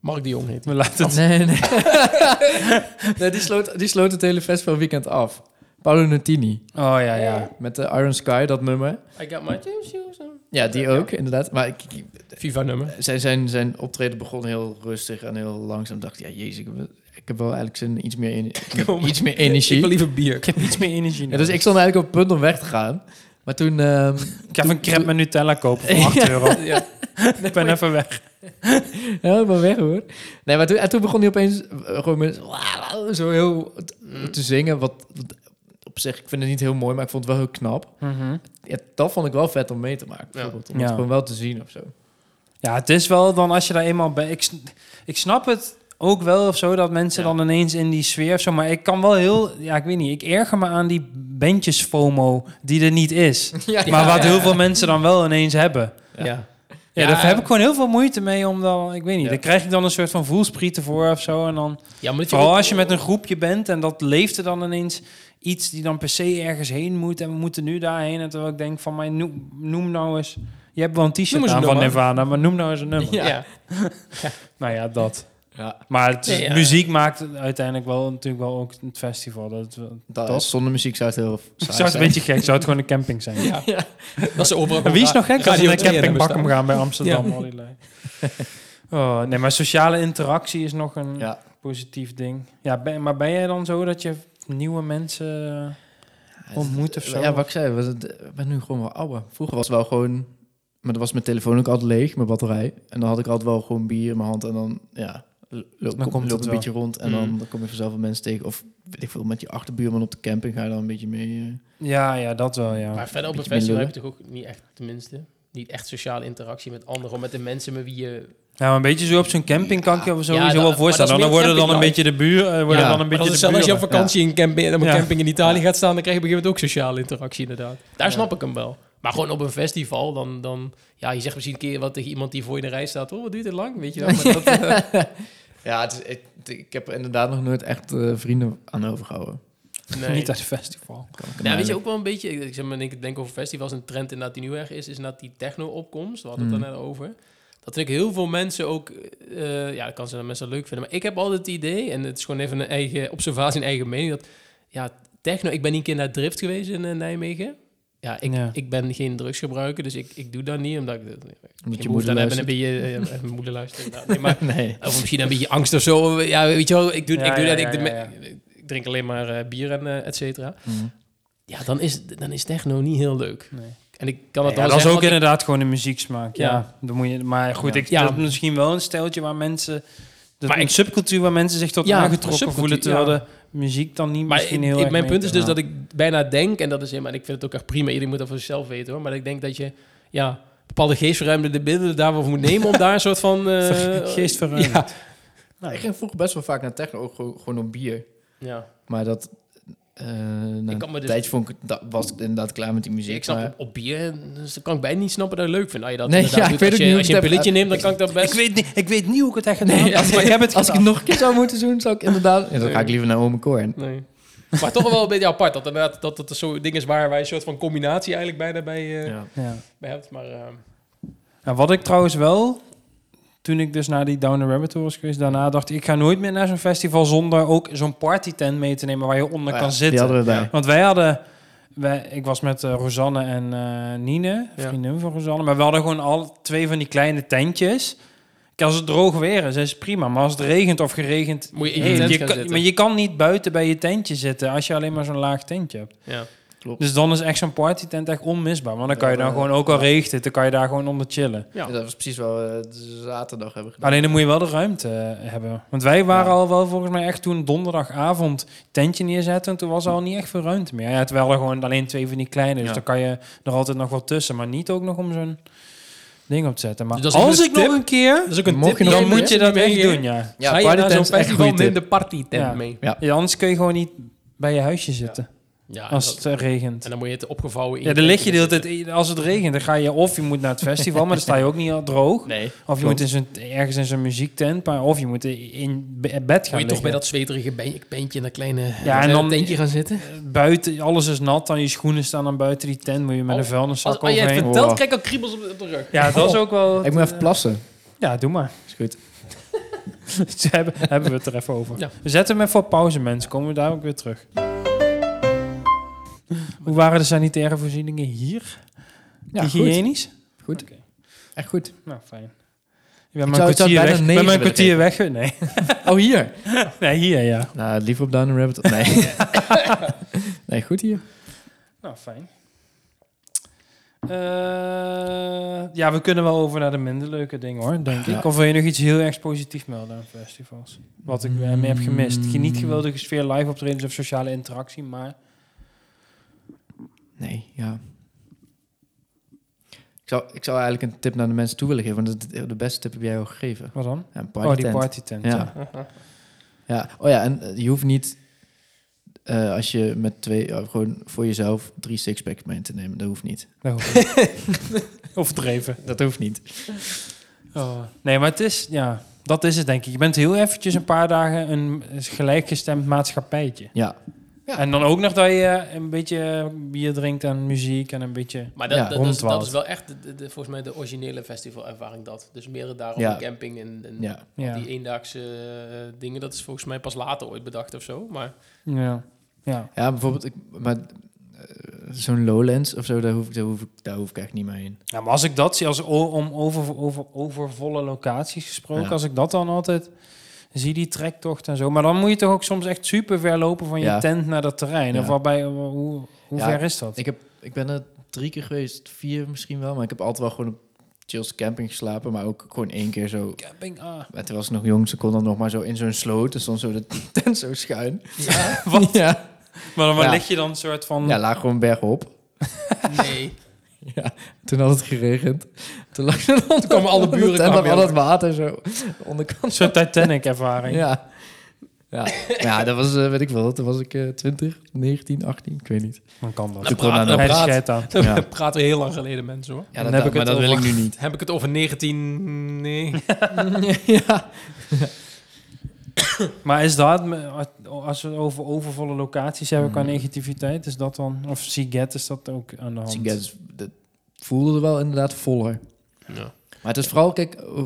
B: Mark de Jong heet.
A: We laten het...
C: Nee, nee. nee die, sloot, die sloot het hele festival weekend af. Paolo Nutini.
A: Oh, ja, ja.
C: Met de Iron Sky, dat nummer.
B: I got my James shoes on. Eh,
C: Ja, die ook, inderdaad. Maar ik, ik-
B: FIFA nummer.
C: zijn, zijn, zijn optreden begon heel rustig en heel langzaam. Dacht ik, ja, jezus, ik, heb- ik heb wel eigenlijk zin in iets meer, in, iets meer
B: Ik wil
C: energie.
B: liever bier.
A: Ik heb iets meer energie
C: Ja, dus
A: nodig.
C: ik stond eigenlijk op het punt om weg te gaan. Maar toen... ehm,
A: Ik ga even een crepe met Nutella kopen voor 8 euro.
B: Ja.
A: Ik ben even weg.
C: Helemaal weg hoor. Nee, maar toen, en toen begon hij opeens eh, gewoon met zo heel t- te zingen. Wat, wat op zich, ik vind het niet heel mooi, maar ik vond het wel heel knap.
B: Mhm.
C: Ja, dat vond ik wel vet om mee te maken. Bijvoorbeeld, Om
A: Ja.
C: het gewoon wel te zien of zo.
A: Ja, het is wel dan als je daar eenmaal bij... Ik, sn- ik snap het ook wel of zo, dat mensen
C: Ja.
A: dan ineens in die sfeer of zo... Maar ik kan wel heel... Ja, ik weet niet. Ik erger me aan die bandjes FOMO die er niet is.
C: Ja,
A: maar wat
B: ja,
A: heel
B: ja.
A: veel mensen dan wel ineens hebben.
C: Ja.
B: ja.
A: Ja, eh,
B: Ja,
A: daar
B: ja.
A: heb ik gewoon heel veel moeite mee om dan... Ik weet niet,
C: Ja.
A: daar krijg ik dan een soort van voelsprieten voor of zo. En dan,
B: Ja, maar dat je
A: vooral
B: ook-
A: als je met een groepje bent en dat leeft er dan ineens iets die dan per se ergens heen moet. En we moeten nu daarheen. En terwijl ik denk van, maar noem, noem nou eens... Je hebt wel een
B: Noem
A: t-shirt
B: eens een
A: aan van
B: nummer.
A: Nirvana, maar noem nou eens een nummer.
B: Ja.
A: Nou ja, dat.
C: Ja,
A: Maar het is-
B: Nee, ja.
A: muziek maakt het uiteindelijk wel natuurlijk wel ook het festival. Dat, het wel-
C: dat,
A: Top.
C: zonder muziek zou het heel saai
A: zou het een
C: zijn.
A: beetje gek, zou het gewoon een camping zijn.
B: Ja. Dat is de opera.
A: En wie is nog gek als we
B: Radio
A: naar
B: 2
A: camping
B: hebben
A: Bakkum
B: staan.
A: gaan bij Amsterdam? al die lui. Oh, nee, maar sociale interactie is nog een
C: Ja.
A: positief ding. Ja, ben, maar ben jij dan zo dat je nieuwe mensen... ontmoet of zo.
C: Ja, wat ik zei, was het, ik ben nu gewoon wel ouder. Vroeger was het wel gewoon... Maar dan was mijn telefoon ook altijd leeg, mijn batterij. En dan had ik altijd wel gewoon bier in mijn hand. En dan, ja, lo- loop,
A: komt
C: loop
A: het
C: een
A: wel.
C: beetje rond. En dan,
B: Mm.
C: dan kom je vanzelf wel mensen tegen. Of weet ik veel, met je achterbuurman op de camping ga je dan een beetje mee. eh.
A: Ja, ja, dat wel, ja.
B: Maar verder op het
C: Beetje
B: festival heb
C: minder.
B: je toch ook niet echt, tenminste. niet echt sociale interactie met anderen, met de mensen met wie je...
A: Nou, een beetje zo op zo'n camping kan ik je sowieso
B: Ja, dat-
A: wel
B: maar
A: voorstellen.
B: dat is
A: Dan
B: meer
A: worden dan een beetje
B: camping
A: de buur, eh, worden
C: Ja,
A: dan een
B: Maar dat
A: beetje
B: is
A: de
B: hetzelfde als je op
A: buren.
B: vakantie in camping, op een
A: Ja.
B: camping in Italië gaat staan, dan krijg je op een gegeven moment ook sociale interactie inderdaad. Daar snap ik hem wel. Maar gewoon op een festival, dan, dan ja, je zegt misschien een keer wat tegen iemand die voor je in de rij staat, oh, wat duurt het lang, weet je wel. Maar dat, eh,
C: Ja, het is, ik, ik heb er inderdaad nog nooit echt eh, vrienden aan overgehouden.
B: nee.
A: Niet uit het festival.
C: Kan ik
B: Nou, weet je
C: hem
B: ook wel een beetje, ik- ik, zeg maar, ik denk over festivals, een trend inderdaad die nu erg is, is inderdaad die techno-opkomst, we hadden het
A: Mm.
C: Hmm.
B: daarnet over. Dat vind ik heel veel mensen ook, eh, ja, dat kan ze dan mensen leuk vinden, maar ik heb altijd het idee, en het is gewoon even een eigen observatie, een eigen mening, dat, ja, techno, ik ben een keer naar Drift geweest in eh, Nijmegen. Ja, ik,
A: Ja.
B: ik ben geen drugsgebruiker, dus ik, ik doe dat niet, omdat ik dat-
C: Omdat
B: geen
C: je
B: behoefte
C: moeder
B: aan heb en
C: luistert.
B: een beetje, eh, ja, mijn moeder luistert. nou, nee, maar,
C: Nee.
B: of misschien een beetje angst of zo, ja, weet je wel, ik doe,
A: Ja,
B: ik doe
A: ja,
B: dat,
A: ja,
B: ik, doe-
A: ja, ja.
B: ik drink alleen maar eh, bier en eh et cetera.
C: Mhm.
B: Ja, dan is, dan is techno niet heel leuk.
A: Nee.
B: En ik kan het
A: Ja,
B: wel
A: dat is
B: zeggen,
A: ook
B: want ik-
A: inderdaad gewoon een muzieksmaak. Ja.
B: Ja.
A: Dan moet je, maar goed,
C: Ja.
A: Ik,
B: Ja.
A: dat is misschien wel een steltje waar mensen... Dat
B: Maar
A: maar een
B: ik-
A: subcultuur waar mensen zich tot
B: Ja, een
A: aangetrokken
B: subcultuur,
A: voelen... terwijl
B: ja.
A: de muziek dan niet
B: Maar
A: misschien
B: in-
A: heel
B: in-
A: erg
B: mijn punt
A: mee-
B: is dus
C: ja.
B: dat ik bijna denk, en dat is helemaal, en ik vind het ook echt prima, iedereen moet dat voor zichzelf weten hoor, maar ik denk dat je, ja, bepaalde geestverruimde middelen daarvoor moet nemen om daar een soort van... eh,
A: Geestverruimend.
B: Ja.
C: Nou, ik ging vroeger best wel vaak naar techno, ook gewoon, gewoon op bier.
B: ja.
C: Maar dat... eh na
B: Ik kan me
C: een
B: dus-
C: tijdje vond ik, dat, was ik inderdaad klaar met die muziek.
B: Ik snap
C: maar-
B: op, op bier, dus dan kan ik bijna niet snappen dat je leuk vindt. Nou, je dat
C: Nee,
B: inderdaad
C: ja,
B: doet.
C: ik weet
B: als
C: ook
B: je,
C: niet
B: als je
C: hoe
B: een
C: ik het
B: pilletje neemt, dan kan ik dat best...
A: Ik weet, niet, ik weet niet hoe ik het echt gedaan heb,
C: als
A: maar ik heb het
C: Als ik
A: gedaan.
C: nog een keer zou moeten doen, zou ik inderdaad... Ja, dan ga ik liever naar Ome Korn.
B: Nee. maar toch wel een beetje apart, dat inderdaad, dat het zo'n ding is waar, waar je een soort van combinatie eigenlijk bijna bij, eh,
C: Ja.
A: Ja.
B: bij hebt, maar... eh,
A: Nou, wat ik trouwens wel, toen ik dus naar die Down the Rabbit Hole was geweest, daarna dacht ik, ik ga nooit meer naar zo'n festival zonder ook zo'n partytent mee te nemen waar je onder
B: Oh
C: Ah,
A: kan
C: ja,
A: zitten.
C: Die hadden we daar.
A: Want wij hadden, wij, ik was met eh, Rosanne en eh Nine,
B: Ja.
A: vriendin van Rosanne, maar we hadden gewoon al twee van die kleine tentjes. Kijk, als het droog weer is, is het prima. Maar als het regent of geregend...
B: Moet je in je
A: heet,
B: tent gaan
A: kan,
B: zitten.
A: Maar je kan niet buiten bij je tentje zitten als je alleen maar zo'n laag tentje hebt.
B: ja.
A: Dus dan is echt zo'n partytent echt onmisbaar. Want dan kan je dan
C: Ja,
A: gewoon, ook al regent het, dan kan je daar gewoon onder chillen.
B: Ja.
C: Dat was precies wat we zaterdag hebben gedaan.
A: Alleen dan moet je wel de ruimte eh, hebben. Want wij waren
C: Ja.
A: al wel volgens mij echt toen donderdagavond tentje neerzetten. En toen was er al niet echt veel ruimte meer. Ja, terwijl er gewoon alleen twee van die kleine. Dus
C: Ja.
A: dan kan je er altijd nog wel tussen. Maar niet ook nog om zo'n ding op te zetten. Maar
B: Dus dat is
A: als
B: een
A: ik
B: tip.
A: nog een keer...
B: is ook een
C: Mocht
B: tip
C: je
B: die
A: Dan
C: nog-
B: je
A: moet je
B: mensen
A: dat
B: die
A: echt
B: meegeven.
A: doen, ja.
C: Ja,
B: Ga je naar
C: partytent
B: zo'n
C: is echt een
B: festival,
C: goede
B: neem
C: tip.
B: de party tent
A: Ja.
B: mee.
C: Ja.
A: Ja, Anders kun je gewoon niet bij je huisje zitten.
B: Ja, en,
A: Als
B: dat-
A: het eh, regent.
B: en dan moet je het opgevouwen in.
A: Ja,
B: je
A: dan lig je de hele
B: tentje
A: tijd... Als het regent, dan ga je... Of je moet naar het festival, maar dan sta je ook niet al droog.
B: zitten. Nee,
A: Of je
C: Klopt.
A: moet in zo'n, ergens in zo'n muziektent, maar of je moet in be- bed gaan
B: moet je toch bij
A: liggen.
B: dat zweterige ben- beentje in dat kleine
A: en
B: kleine
A: dan-
B: tentje gaan zitten.
A: Buiten, alles is nat, dan je schoenen staan dan buiten die tent, moet je met
B: Oh,
A: een
B: Als,
A: vuilniszak
B: als jij het
A: overheen.
B: vertelt,
C: Oh.
B: krijg ik al kriebels op de, op de rug. Oh.
A: Ja, dat is ook wel...
C: Ik moet even plassen.
A: Ja, doe maar.
C: Is goed.
A: Ze hebben, hebben we het er even over.
B: Ja.
A: We zetten hem even op pauze, mensen. Komen we daar ook weer terug. Hoe waren de sanitaire voorzieningen hier?
C: Ja, goed.
A: Hygiënisch?
C: Goed.
A: Oké.
C: Echt goed.
A: Nou, fijn. Ik ben
C: Ik
A: maar
C: zou-
A: een
C: ik zou
A: kwartier
C: het bijna
A: weg. Ik ben
C: negen
A: maar een
C: willen
A: kwartier weg. Nee.
C: Oh, hier.
A: nee, hier ja.
C: Nou, liever op Down the Rabbit. Nee. nee, goed hier.
A: Nou, fijn. Eh, ja, we kunnen wel over naar de minder leuke dingen hoor, denk
C: Ja.
A: ik. Of wil je nog iets heel erg positiefs melden aan festivals? Wat ik eh, me heb gemist. Geen niet
C: Mm.
A: geweldige sfeer, live optredens of sociale interactie, maar...
C: Nee, ja. Ik zou, ik zou eigenlijk een tip naar de mensen toe willen geven. Want de, de beste tip heb jij al gegeven.
A: Wat dan?
C: Ja, een
A: oh, die
C: partytent.
A: partytent. Ja.
C: Ja. ja. Oh ja, en eh, je hoeft niet... eh, als je met twee... eh, gewoon voor jezelf drie sixpacks mee te nemen. Dat hoeft niet.
A: Dat hoef ik niet. Overdreven.
C: Dat hoeft niet.
A: Oh. Nee, maar het is... Ja, dat is het denk ik. Je bent heel eventjes een paar dagen een gelijkgestemd maatschappijtje.
C: Ja. Ja.
A: En dan ook nog dat je een beetje bier drinkt en muziek en een beetje...
B: Maar dat,
C: Ja,
B: dat, dat is, dat
A: rondwaalt.
B: is wel echt, de, de- de- volgens mij, de originele festivalervaring dat. Dus meer daar op
C: Ja.
B: de camping en, en
C: Ja.
B: al
A: Ja.
B: die eendaagse eh, dingen. Dat is volgens mij pas later ooit bedacht of zo. Maar
A: Ja. Ja.
C: Ja, bijvoorbeeld, ik, maar eh, zo'n Lowlands of zo, daar hoef, ik, daar, hoef ik, daar hoef ik echt niet mee in.
A: Ja, maar als ik dat zie, als o- om over, over, overvolle locaties gesproken,
C: Ja.
A: als ik dat dan altijd zie, die trektocht en zo. Maar dan moet je toch ook soms echt super ver lopen van je
C: Ja.
A: tent naar dat terrein. Of
C: Ja.
A: waarbij, hoe, hoe
C: Ja,
A: ver is dat?
C: Ik, heb, ik ben er drie keer geweest, vier misschien wel, maar ik heb altijd wel gewoon op Chills Camping geslapen, maar ook gewoon één keer zo.
A: Camping, ah.
C: Maar toen was ik nog jong, ze kon dan nog maar zo in zo'n sloot, dus stond zo de tent zo schuin.
B: ja,
C: Wat? Ja,
A: Maar dan waar
C: Ja.
A: lig je dan een soort van...
C: ja laag gewoon bergop.
B: nee.
C: Ja, toen had het geregend. Toen lag er dan
B: kwamen alle buren
C: En
B: kwamen
C: dan
B: weer
C: al het water zo onderkant.
A: Zo'n Titanic-ervaring.
C: Ja. Ja. ja, dat was, eh, weet ik wel, toen was ik eh 20, 19, 18, ik weet niet.
A: Dan kan dat.
C: Toen kwam
B: praat-
C: daar nog-
A: Hij
B: praat.
A: scheidt aan.
C: Ja.
B: We praten heel lang geleden, mensen hoor.
C: Ja,
A: Dan
C: dat,
A: heb ik
C: maar
A: het
C: dat wil ik
A: over.
C: nu niet.
B: Heb ik het over 19... Nee.
C: ja.
A: Maar is dat, me- als we het over overvolle locaties hebben
C: Mm.
A: qua negativiteit, is dat dan, of Seagate, is dat ook aan de hand?
C: Siget is- Dus dat voelde wel inderdaad voller.
B: Ja.
C: Maar het is vooral, kijk, eh,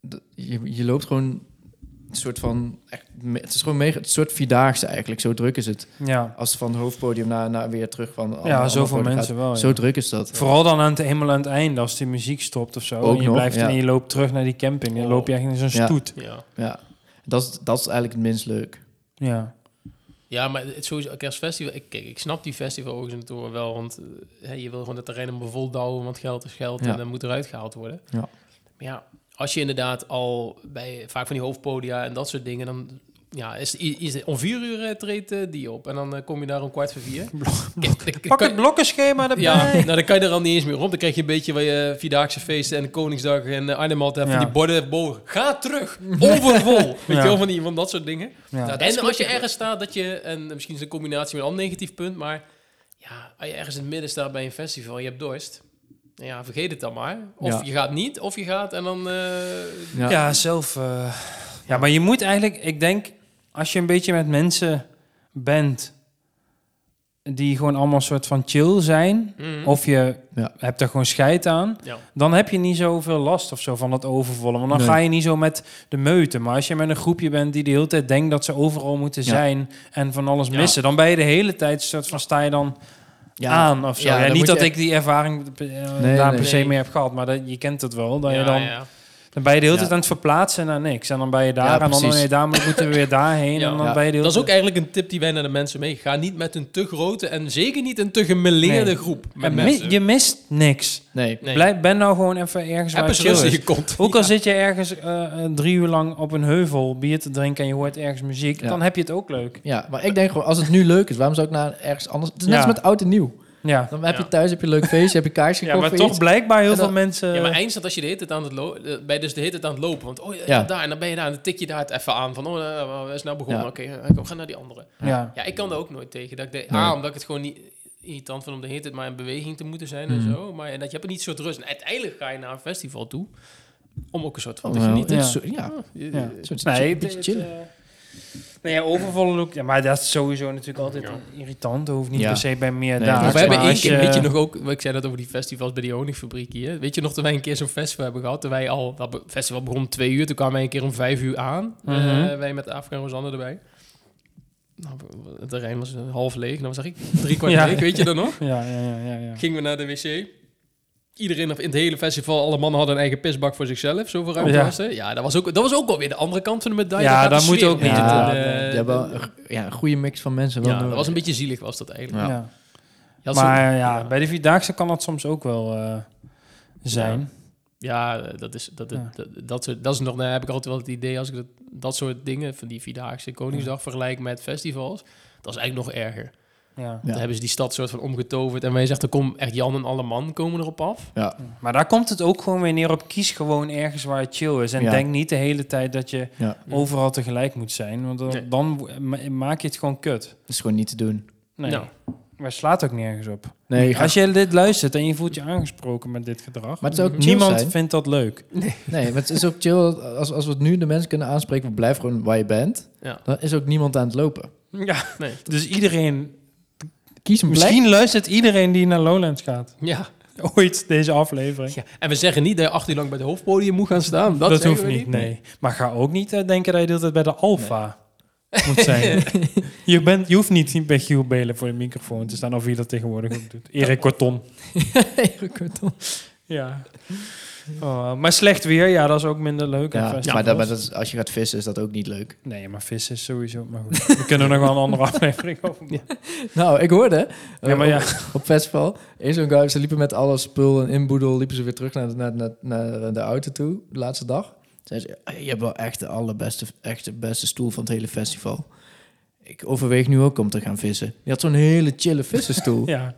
C: de- je, je loopt gewoon een soort van, echt, me- het is gewoon mega, het soort vierdaagse eigenlijk, zo druk is het.
A: Ja,
C: Als het van het hoofdpodium naar, naar weer terug van...
A: ja
C: ander-
A: zoveel
C: ander podium
A: mensen wel.
C: gaat.
A: ja.
C: Zo druk is dat.
A: Vooral dan aan het, helemaal aan het einde, als die muziek stopt of zo.
C: Ook
A: en je
C: nog,
A: blijft
C: ja.
A: en je loopt terug naar die camping. Dan
B: Oh.
A: loop je eigenlijk in zo'n
C: Ja.
A: stoet.
B: Ja.
C: Ja, dat is, dat is eigenlijk het minst leuk.
A: Ja.
B: Ja, maar het sowieso, kerstfestival, ik, kijk, ik snap die festivalorganisatoren wel, want eh, hè, je wil gewoon het terrein helemaal vol douwen, want geld is geld
C: Ja.
B: en dat moet eruit gehaald worden.
C: Ja.
B: Maar ja, als je inderdaad al bij vaak van die hoofdpodia en dat soort dingen, dan ja, is, is het om vier uur eh, treedt eh, die op en dan eh, kom je daar om kwart voor vier. Kijk, dan- dan
A: Pak
B: kan-
A: het blokkenschema erbij.
B: ja, nou, dan kan je er al niet eens meer rond. Dan krijg je een beetje bij je Vierdaagse feesten en de Koningsdag en eh, Arnhem altijd van
A: Ja.
B: die borden boven. Ga terug! Overvol! Weet je
A: Ja.
B: wel, van, die, van dat soort dingen.
A: Ja.
C: dat
B: En
C: is
B: als je
C: klopt.
B: ergens staat dat je, en misschien is het een combinatie met een ander negatief punt, maar ja, als je ergens in het midden staat bij een festival en je hebt dorst, nou ja, vergeet het dan maar. Of
C: Ja.
B: je gaat niet, of je gaat en dan... eh,
C: Ja.
A: Ja, zelf. eh, ja, maar je moet eigenlijk, ik denk, als je een beetje met mensen bent die gewoon allemaal soort van chill zijn,
B: mhm.
A: of je
C: Ja.
A: hebt er gewoon scheid aan,
B: ja.
A: dan heb je niet zoveel last of zo van dat overvallen. Want dan
C: Nee.
A: ga je niet zo met de meute. Maar als je met een groepje bent die de hele tijd denkt dat ze overal moeten
C: Ja.
A: zijn en van alles
B: Ja.
A: missen, dan ben je de hele tijd soort van sta je dan aan of zo.
C: Ja,
A: Ja,
C: dan
A: niet
C: moet je
A: dat
C: echt-
A: ik die ervaring eh,
C: Nee,
A: daar
C: nee.
A: per se
B: Nee.
A: mee heb gehad, maar dat, je kent het wel. Dat je
B: Ja,
A: dan
B: ja.
A: dan ben je de hele
C: Ja.
A: tijd aan het verplaatsen naar niks. En dan ben je daar.
C: Ja,
A: en dan, oh
C: precies.
A: nee, daar moet- moeten we weer daarheen.
B: Ja.
A: En dan
C: Ja.
A: ben je de hele
B: Dat is ook
A: tijd-
B: eigenlijk een tip die wij naar de mensen mee. Ga niet met een te grote en zeker niet een te gemeleerde
A: Nee.
B: groep. Met
A: En mi-
B: mensen.
A: je mist niks.
C: Nee.
B: Nee.
A: Blijf, ben nou gewoon even ergens
B: Heb
A: waar het
B: eens
A: chill
B: rust in
A: is.
B: je kont.
A: Ook al zit je ergens eh, eh, drie uur lang op een heuvel bier te drinken en je hoort ergens muziek,
C: Ja.
A: dan heb je het ook leuk.
C: Ja, maar ik denk gewoon, als het nu leuk is, waarom zou ik naar ergens anders... Het is net
A: Ja.
C: als met oud en nieuw.
A: Ja,
C: Dan heb
B: Ja.
C: je thuis heb je een leuk feestje, heb je kaars
A: ja
C: gekocht
A: maar
C: voor
A: toch
C: iets.
A: blijkbaar heel
C: En dan-
A: veel mensen...
B: Ja, maar eindstand als je de hele tijd aan het lopen, ben je dus de hele tijd aan het lopen. Want oh ja,
C: Ja.
B: daar en dan ben je daar en dan tik je daar het even aan van oh, eh, we is nou begonnen.
C: Ja.
B: Oké, eh, kom, ga naar die andere.
A: ja.
B: Ja, ik kan daar ook nooit tegen. Dat ik de,
C: Nee.
B: A, omdat ik het gewoon niet irritant vind om de hele tijd maar in beweging te moeten zijn en
C: Mhm.
B: zo. Maar en dat je hebt er niet een soort rust. En uiteindelijk ga je naar een festival toe om ook een soort van te
C: Om wel-
B: genieten.
A: Oh, Ja.
C: zo- ja.
A: Ja.
C: een soort-
A: Nee,
C: een beetje
A: het-
C: chillen.
A: het, eh, nee, ja, overvallen ook. Ja, maar dat is sowieso natuurlijk altijd irritant. Dat hoeft niet
C: Ja.
A: per se bij meer
C: Nee,
B: Maar
A: dagen.
C: Ja,
B: we
A: Ah, Maar
B: hebben één
A: als
B: keer,
A: je-
B: weet je nog ook, ik zei dat over die festivals bij die honingfabriek hier. Weet je nog dat wij een keer zo'n festival hebben gehad? Dat wij al, dat be- festival begon om twee uur, toen kwamen wij een keer om vijf uur aan. Eh,
A: Mhm.
B: wij met Afrika en Rosanne erbij. Nou, het terrein was eh, half leeg, nou zeg ik drie kwart
A: Ja.
B: leeg, weet je dat nog?
A: Ja, ja, ja, ja, ja.
B: Gingen we naar de wc. Iedereen of in het hele festival, alle mannen hadden een eigen pisbak voor zichzelf. Zoveel ruimte
A: Ja.
B: was er. Ja, dat was ook, dat was ook alweer de andere kant van de medaille.
A: Ja,
B: gaat de
A: daar moet
B: sfeer
A: ook
B: een beetje
A: niet-
B: ten,
A: Ja,
B: eh,
C: Je hebt wel een, g- ja, een goede mix van mensen. Wel
B: ja, dat
C: nodig.
B: was een beetje zielig was dat eigenlijk.
C: Ja.
A: Ja.
B: Je had zo'n-
A: Maar ja,
B: ja.
A: bij de Vierdaagse kan dat soms ook wel eh, zijn.
B: Ja, eh, dat is, dat, dat-
A: Ja.
B: dat, dat, soort- dat is nog, nou heb ik altijd wel het idee als ik dat, dat soort dingen van die Vierdaagse Koningsdag vergelijk met festivals. Dat is eigenlijk nog erger.
A: Ja.
C: Ja.
B: Dan hebben ze die stad soort van omgetoverd en wij zeggen, dan kom echt Jan en alle man komen erop af.
C: Ja,
A: Maar daar komt het ook gewoon weer neer op kies gewoon ergens waar het chill is. En
C: Ja.
A: denk niet de hele tijd dat je
C: ja.
A: overal tegelijk moet zijn. Want dan,
B: Nee.
A: dan wo- ma- maak je het gewoon kut.
C: Dat is gewoon niet te doen.
A: Nee.
B: Nou.
A: Maar het slaat ook nergens op.
C: Nee, je gaat-
A: Als je dit luistert en je voelt je aangesproken met dit gedrag.
C: maar het is ook chill
A: niemand
C: zijn.
A: vindt dat leuk.
C: Nee, maar het is ook chill dat als, als we het nu de mensen kunnen aanspreken, van blijf gewoon waar je bent.
B: Ja.
C: Dan is ook niemand aan het lopen.
A: Ja.
B: Nee.
A: Dus iedereen.
C: Kies een plek.
A: Misschien luistert iedereen die naar Lowlands gaat.
B: Ja.
A: Ooit deze aflevering.
B: ja. En we zeggen niet dat je acht uur lang bij het hoofdpodium moet gaan staan. Dat,
A: Dat,
B: zeggen
A: hoeft
B: we
A: niet, nee. Maar ga ook niet eh, denken dat je de hele tijd bij de Alfa moet zijn. je, bent, je hoeft niet bij Giel Belen voor je microfoon te staan, of wie dat tegenwoordig ook doet. Erik Kortom. Ja. Oh, maar slecht weer, ja, dat is ook minder leuk. aan
C: Ja,
A: festivals.
C: maar, dat, maar dat is- als je gaat vissen is dat ook niet leuk.
A: Nee, maar vis is sowieso... Maar goed, we kunnen er nog wel een andere aflevering over maken.
C: Nou, ik hoorde
A: Ja,
C: eh,
A: maar ja.
C: op, op festival, in zo'n guy, ze liepen met alle spul en inboedel, liepen ze weer terug naar, naar, naar, naar de auto toe, de laatste dag. Zeiden ze, "Eh, je hebt wel echt de allerbeste echt de beste stoel van het hele festival. Ik overweeg nu ook om te gaan vissen. Je had zo'n hele chille vissenstoel.
A: Ja.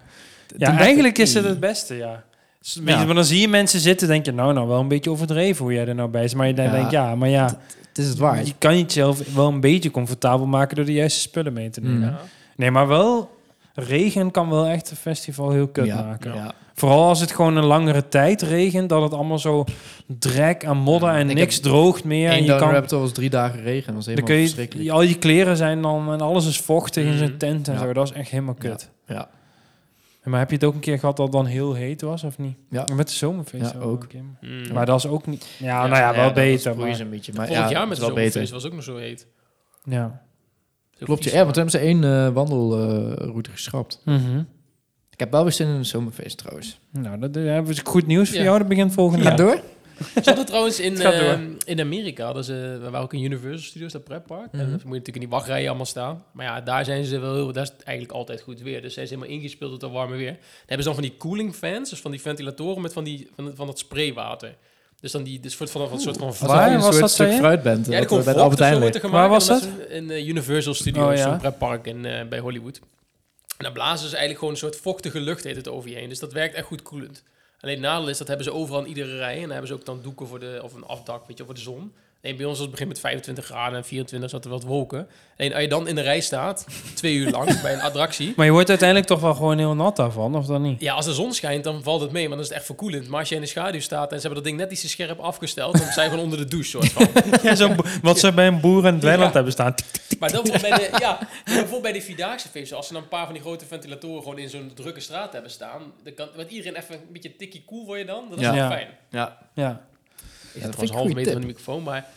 A: Ja, eigenlijk is het het beste, ja. S- weet je,
D: Ja.
A: Maar dan zie je mensen zitten, denk je, nou, nou, wel een beetje overdreven hoe jij er nou bij is. Maar je dan
C: Ja.
A: denkt, ja, maar ja,
C: Het is het waard.
A: je kan jezelf wel een beetje comfortabel maken door de juiste spullen mee te nemen.
C: Mm.
B: Ja.
A: Nee, maar wel, regen kan wel echt een festival heel kut
C: ja,
A: maken.
C: ja.
A: Vooral als het gewoon een langere tijd regent, dat het allemaal zo drek aan modder en
C: Ik
A: niks
C: heb
A: droogt meer. En
C: Eén
A: je
C: Down
A: kan,
C: Raptor was drie dagen regen. Dat was
A: dan
C: helemaal
A: kun je,
C: verschrikkelijk. Hmm.
A: al je kleren zijn dan en alles is vochtig in
B: Mhm.
A: zijn tent en
C: Ja.
A: zo. Dat is echt helemaal
C: Ja.
A: kut.
C: Ja.
A: En Maar heb je het ook een keer gehad dat het dan heel heet was, of niet?
C: Ja.
A: Met de zomerfeest
C: Ja, ook.
B: Mm.
A: Maar dat is ook niet... Ja,
B: Ja,
A: nou ja, wel
C: dat
A: beter.
C: was
A: Maar,
C: een beetje. Maar
B: Vorig
C: ja,
B: jaar
C: het
B: met
C: is
B: de
C: wel
B: zomerfeest
C: beter.
B: was ook nog zo heet.
A: ja.
B: Zo
C: Klopt, je.
B: vies,
C: Ja, want
B: maar-
C: toen hebben ze één eh, wandelroute geschrapt. Ik heb wel weer zin in een zomerfeest trouwens.
A: Nou, dat eh, hebben we goed nieuws voor
B: Ja.
A: jou. Dat begint volgend
C: Ga
A: jaar.
C: door.
B: Ze hadden trouwens in,
A: Het gaat door.
B: ehm, in Amerika, hadden ze, we waren ook in Universal Studios, dat pretpark. En
C: Mhm.
B: dan moet je natuurlijk in die wachtrijen allemaal staan. Maar ja, daar zijn ze wel heel, daar is het eigenlijk altijd goed weer. Dus zijn ze helemaal ingespeeld op dat warme weer. Dan hebben ze dan van die cooling fans, dus van die ventilatoren met van, die, van, van dat spraywater. Dus dan die, dus voor- van een soort van
A: Waar
C: je een
A: was
C: soort
A: dat,
C: stuk
A: zei je?
C: fruit bent.
B: Ja,
C: dat
B: er komt
C: bij de
B: vocht
C: Albert
B: of zo
C: Heijn
B: wordt
C: ligt.
B: er
A: Waar
B: gemaakt.
A: was
B: en dan is het In eh, Universal Studios,
A: Oh, ja.
B: zo'n pretpark in, eh, bij Hollywood. En dan blazen ze eigenlijk gewoon een soort vochtige lucht heet het over je heen. Dus dat werkt echt goed koelend. Alleen het nadeel is, dat hebben ze overal in iedere rij. En dan hebben ze ook dan doeken voor de, of een afdak, weet je, voor de zon. Alleen bij ons was het begin met 25 graden en 24 zat er wat wolken. Alleen als je dan in de rij staat, twee uur lang, bij een attractie.
A: Maar je wordt uiteindelijk toch wel gewoon heel nat daarvan, of dan niet?
B: Ja, als de zon schijnt, dan valt het mee, maar dan is het echt verkoelend. Maar als je in de schaduw staat en ze hebben dat ding net iets te scherp afgesteld, dan zijn we gewoon onder de douche, soort van.
A: Ja, zo, wat ze bij een boer in het weiland
B: Ja.
A: hebben staan.
B: Maar dan bijvoorbeeld bij de, ja, maar bijvoorbeeld bij de Vierdaagse feesten, als ze dan een paar van die grote ventilatoren gewoon in zo'n drukke straat hebben staan, dan kan met iedereen even een beetje tikkie cool word je dan, dat is
A: Ja.
B: wel
A: Ja.
B: fijn.
C: Ja.
A: Ja.
B: Ik
C: vind
B: zit
C: ik een
B: trouwens half
C: goeie
B: meter
C: tip.
B: van de microfoon, maar...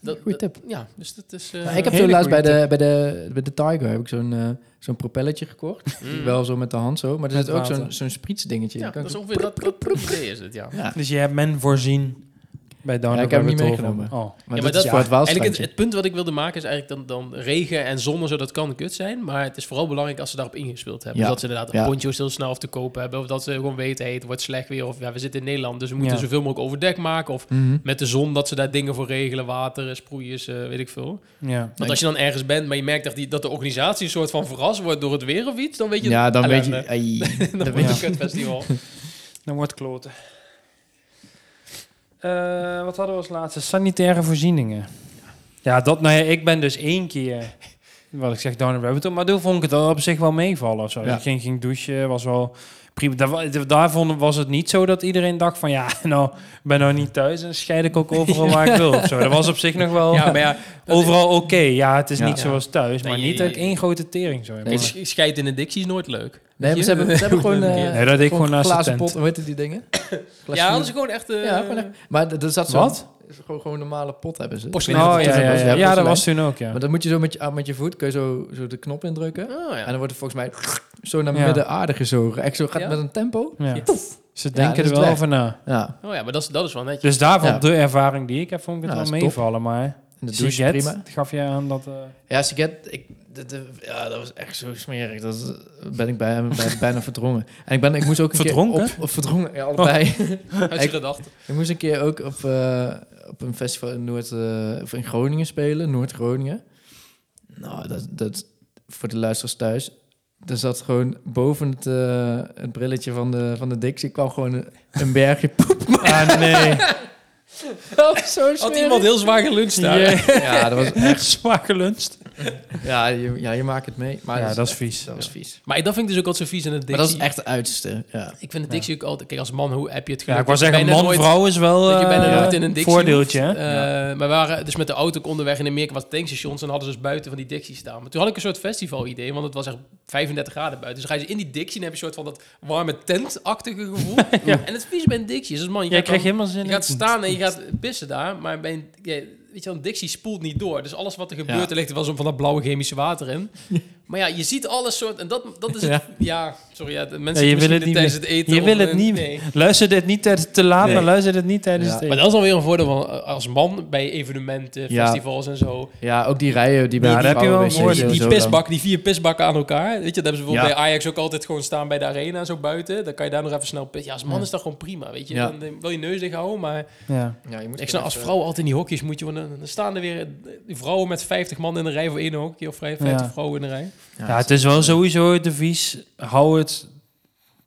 B: Dat,
C: Goeie tip.
B: dat- ja, dus dat is... eh,
C: Nou, ik heb
A: Hele
C: zo laatst bij
A: goeie
C: de, bij, de, bij de Tiger heb ik zo'n eh, zo'n propelletje gekocht.
B: mm.
C: Wel zo met de hand zo. Maar er
A: Met
C: zit ook
A: water.
C: zo'n zo'n sprietsdingetje.
B: Ja, dat
C: Kan ik
B: is
C: ook-
B: ongeveer dat, dat, idee is het, ja.
C: Ja.
A: Dus je hebt men voorzien bij Down
C: Ja, ik heb hem niet meegenomen.
A: Oh.
C: Maar
B: Ja,
C: dat
B: maar dat-
C: is voor het
B: Eigenlijk het,
C: Waalstrandje.
B: het punt wat ik wilde maken is eigenlijk dan, dan regen en zon en zo, dat kan kut zijn. Maar het is vooral belangrijk als ze daarop ingespeeld hebben.
C: Ja.
B: Dus dat ze inderdaad
C: Ja.
B: poncho's heel snel af te kopen hebben. Of dat ze gewoon weten, hey, het wordt slecht weer. Of ja, we zitten in Nederland, dus we moeten
A: Ja.
B: zoveel mogelijk overdek maken. Of
C: Mhm.
B: met de zon dat ze daar dingen voor regelen, water, sproeiers, eh, weet ik veel.
A: Ja.
B: Want als je dan ergens bent, maar je merkt dat, die, dat de organisatie een soort van verrast wordt door het weer of iets, dan weet je...
C: Ja, dan weet je...
B: Ellende.
C: ai,
B: Dan
C: dan
B: wordt
C: weet
B: het
C: je-
B: een kutfestival.
A: Dan wordt kloten. Eh, wat hadden we als laatste? Sanitaire voorzieningen. Ja, dat, nou ja, ik ben dus één keer, wat ik zeg, down rabbit hole, maar toen vond ik het al op zich wel meevallen of zo.
C: Ja.
A: Ik ging, ging douchen, was wel prima. Daar, wa- daarvan was het niet zo dat iedereen dacht van, ja, nou, ik ben nou niet thuis en scheid ik ook overal waar ik wil of zo. Dat was op zich nog
C: Oh.
A: wel
B: ja, maar ja, dat is-
A: overal oké. Ja, het is
C: Ja.
A: niet zoals thuis, maar
B: Nee,
A: niet
B: nee,
A: uit
B: nee.
A: één grote tering zo.
C: Nee,
A: maar-
B: sch- Scheid in de dictie is nooit leuk.
C: Nee, maar ze hebben, ze hebben gewoon... eh,
A: Nee, dat deed ik gewoon naast de
C: glazen
A: tent.
C: pot. Hoe heet die dingen?
B: Ja,
C: Glazuur.
B: dat is gewoon echt... eh,
C: Ja, gewoon echt- maar d- er zat zo'n...
A: Wat?
C: Gewoon, gewoon een normale pot hebben ze.
B: Porselein.
A: Oh, ja, ja, ja, ja,
C: porselein.
A: dat was toen ook, ja.
C: Maar dan moet je zo met je, ah, met je voet kun je zo, zo de knop indrukken.
B: Oh,
C: En
B: ja.
C: dan wordt er volgens mij zo naar
A: Ja.
C: midden aarde gezogen. Echt zo gaat
B: Ja?
C: met een tempo.
A: ja. Ze
C: Ja, dat
A: denken
C: is
A: er wel
C: weg.
A: over na.
C: Ja,
B: oh ja, maar dat is, dat is wel netjes.
A: Dus daarvan
C: Ja.
A: de ervaring die ik heb, vond ik het
B: Nou,
C: Ja,
A: wel
C: dat is top.
A: meevallen. Maar
C: en de douche
A: Siget,
C: prima.
A: gaf je aan dat... eh,
C: Ja, Siget, ik, dat, eh, ja, dat was echt zo smerig. Dat is- ben ik bij hem bij- bijna verdrongen. En ik, ben, ik moest ook een
A: Verdronken? Oh.
C: keer op, op verdrongen. Ja, allebei.
B: Uit je gedachten.
C: ik moest een keer ook op, eh, op een festival in, Noord, eh, of in Groningen spelen, Noord-Groningen. Nou, dat, dat voor de luisteraars thuis. Er zat gewoon boven het, eh, het brilletje van de, van de Dixie kwam gewoon een, een bergje poep.
A: ah, nee.
C: Oh, zo smerig.
B: Had iemand heel zwaar geluncht daar.
A: Je-
C: Ja, dat was
A: Echt zwaar gelunst.
C: Ja, je, ja, je maakt het mee. Maar
A: Ja,
C: dat,
A: dat is vies.
C: dat was vies.
B: Maar dat vind ik dus ook altijd zo vies in het
C: Maar dat is
B: dictie.
C: echt de uiterste. Ja.
B: Ik vind het dictie ook altijd... Kijk, als man, hoe heb je het
A: Ja,
B: geluk?
A: ik wou
B: dat je
A: zeggen,
B: bijna nooit-
A: man-vrouw is wel
B: Dat je bijna
A: eh,
B: nooit in een dictie
A: voordeeltje.
B: hoeft.
A: hè?
B: Eh, Maar we waren dus met de auto ook onderweg in Amerika, wat tankstations, en hadden ze dus buiten van die dictie staan. Maar toen had ik een soort festival-idee, want het was echt 35 graden buiten. Dus dan ga je in die dictie en heb je een soort van dat warme tentachtige gevoel. En het vies bij een dictie is, dus man, je
A: Jij
B: gaat,
A: krijgt
B: dan-
A: helemaal zin
B: je
A: in.
B: gaat staan en je gaat pissen daar, maar bij een, ja, weet je wel, een dictie spoelt niet door. Dus alles wat er gebeurt,
C: Ja.
B: er ligt er wel zo'n van dat blauwe chemische water in. Maar ja, je ziet alles soort, en dat, dat is het, ja.
C: Ja.
B: sorry, ja, de mensen
A: Ja, je
B: misschien
A: wil het niet
B: tijdens
A: meer.
B: het eten.
A: Je
B: of
A: wil het
B: een-
A: niet
B: nee.
A: Luister dit niet tijdens- te laat,
C: Nee.
A: maar luister dit niet tijdens
C: Ja.
A: het
B: Maar
A: eten.
B: dat is alweer een voordeel van eh, als man bij evenementen,
C: Ja.
B: festivals en zo.
C: ja, ook die rijen die bij
A: Ja,
C: de
A: daar heb je wel een
C: vrouwenwc's
A: woord.
B: Die,
C: en
B: die
C: zo dan.
B: pisbak, die vier pisbakken aan elkaar. Weet je, dat hebben ze bijvoorbeeld
C: Ja.
B: bij Ajax ook altijd gewoon staan bij de arena zo buiten. Dan kan je daar nog even snel pissen. Ja, als man is dat gewoon prima, weet je.
C: Ja.
B: Dan eh, wil je neus dicht houden, maar
A: Ja.
C: Ja, je moet
B: ik snap, als vrouw altijd in die hokjes moet je, want dan, dan staan er weer eh, die vrouwen met 50 man in de rij voor één hokje of vrij- 50
A: Ja.
B: vrouwen in de rij.
A: Ja, het is wel sowieso de vies. Hou het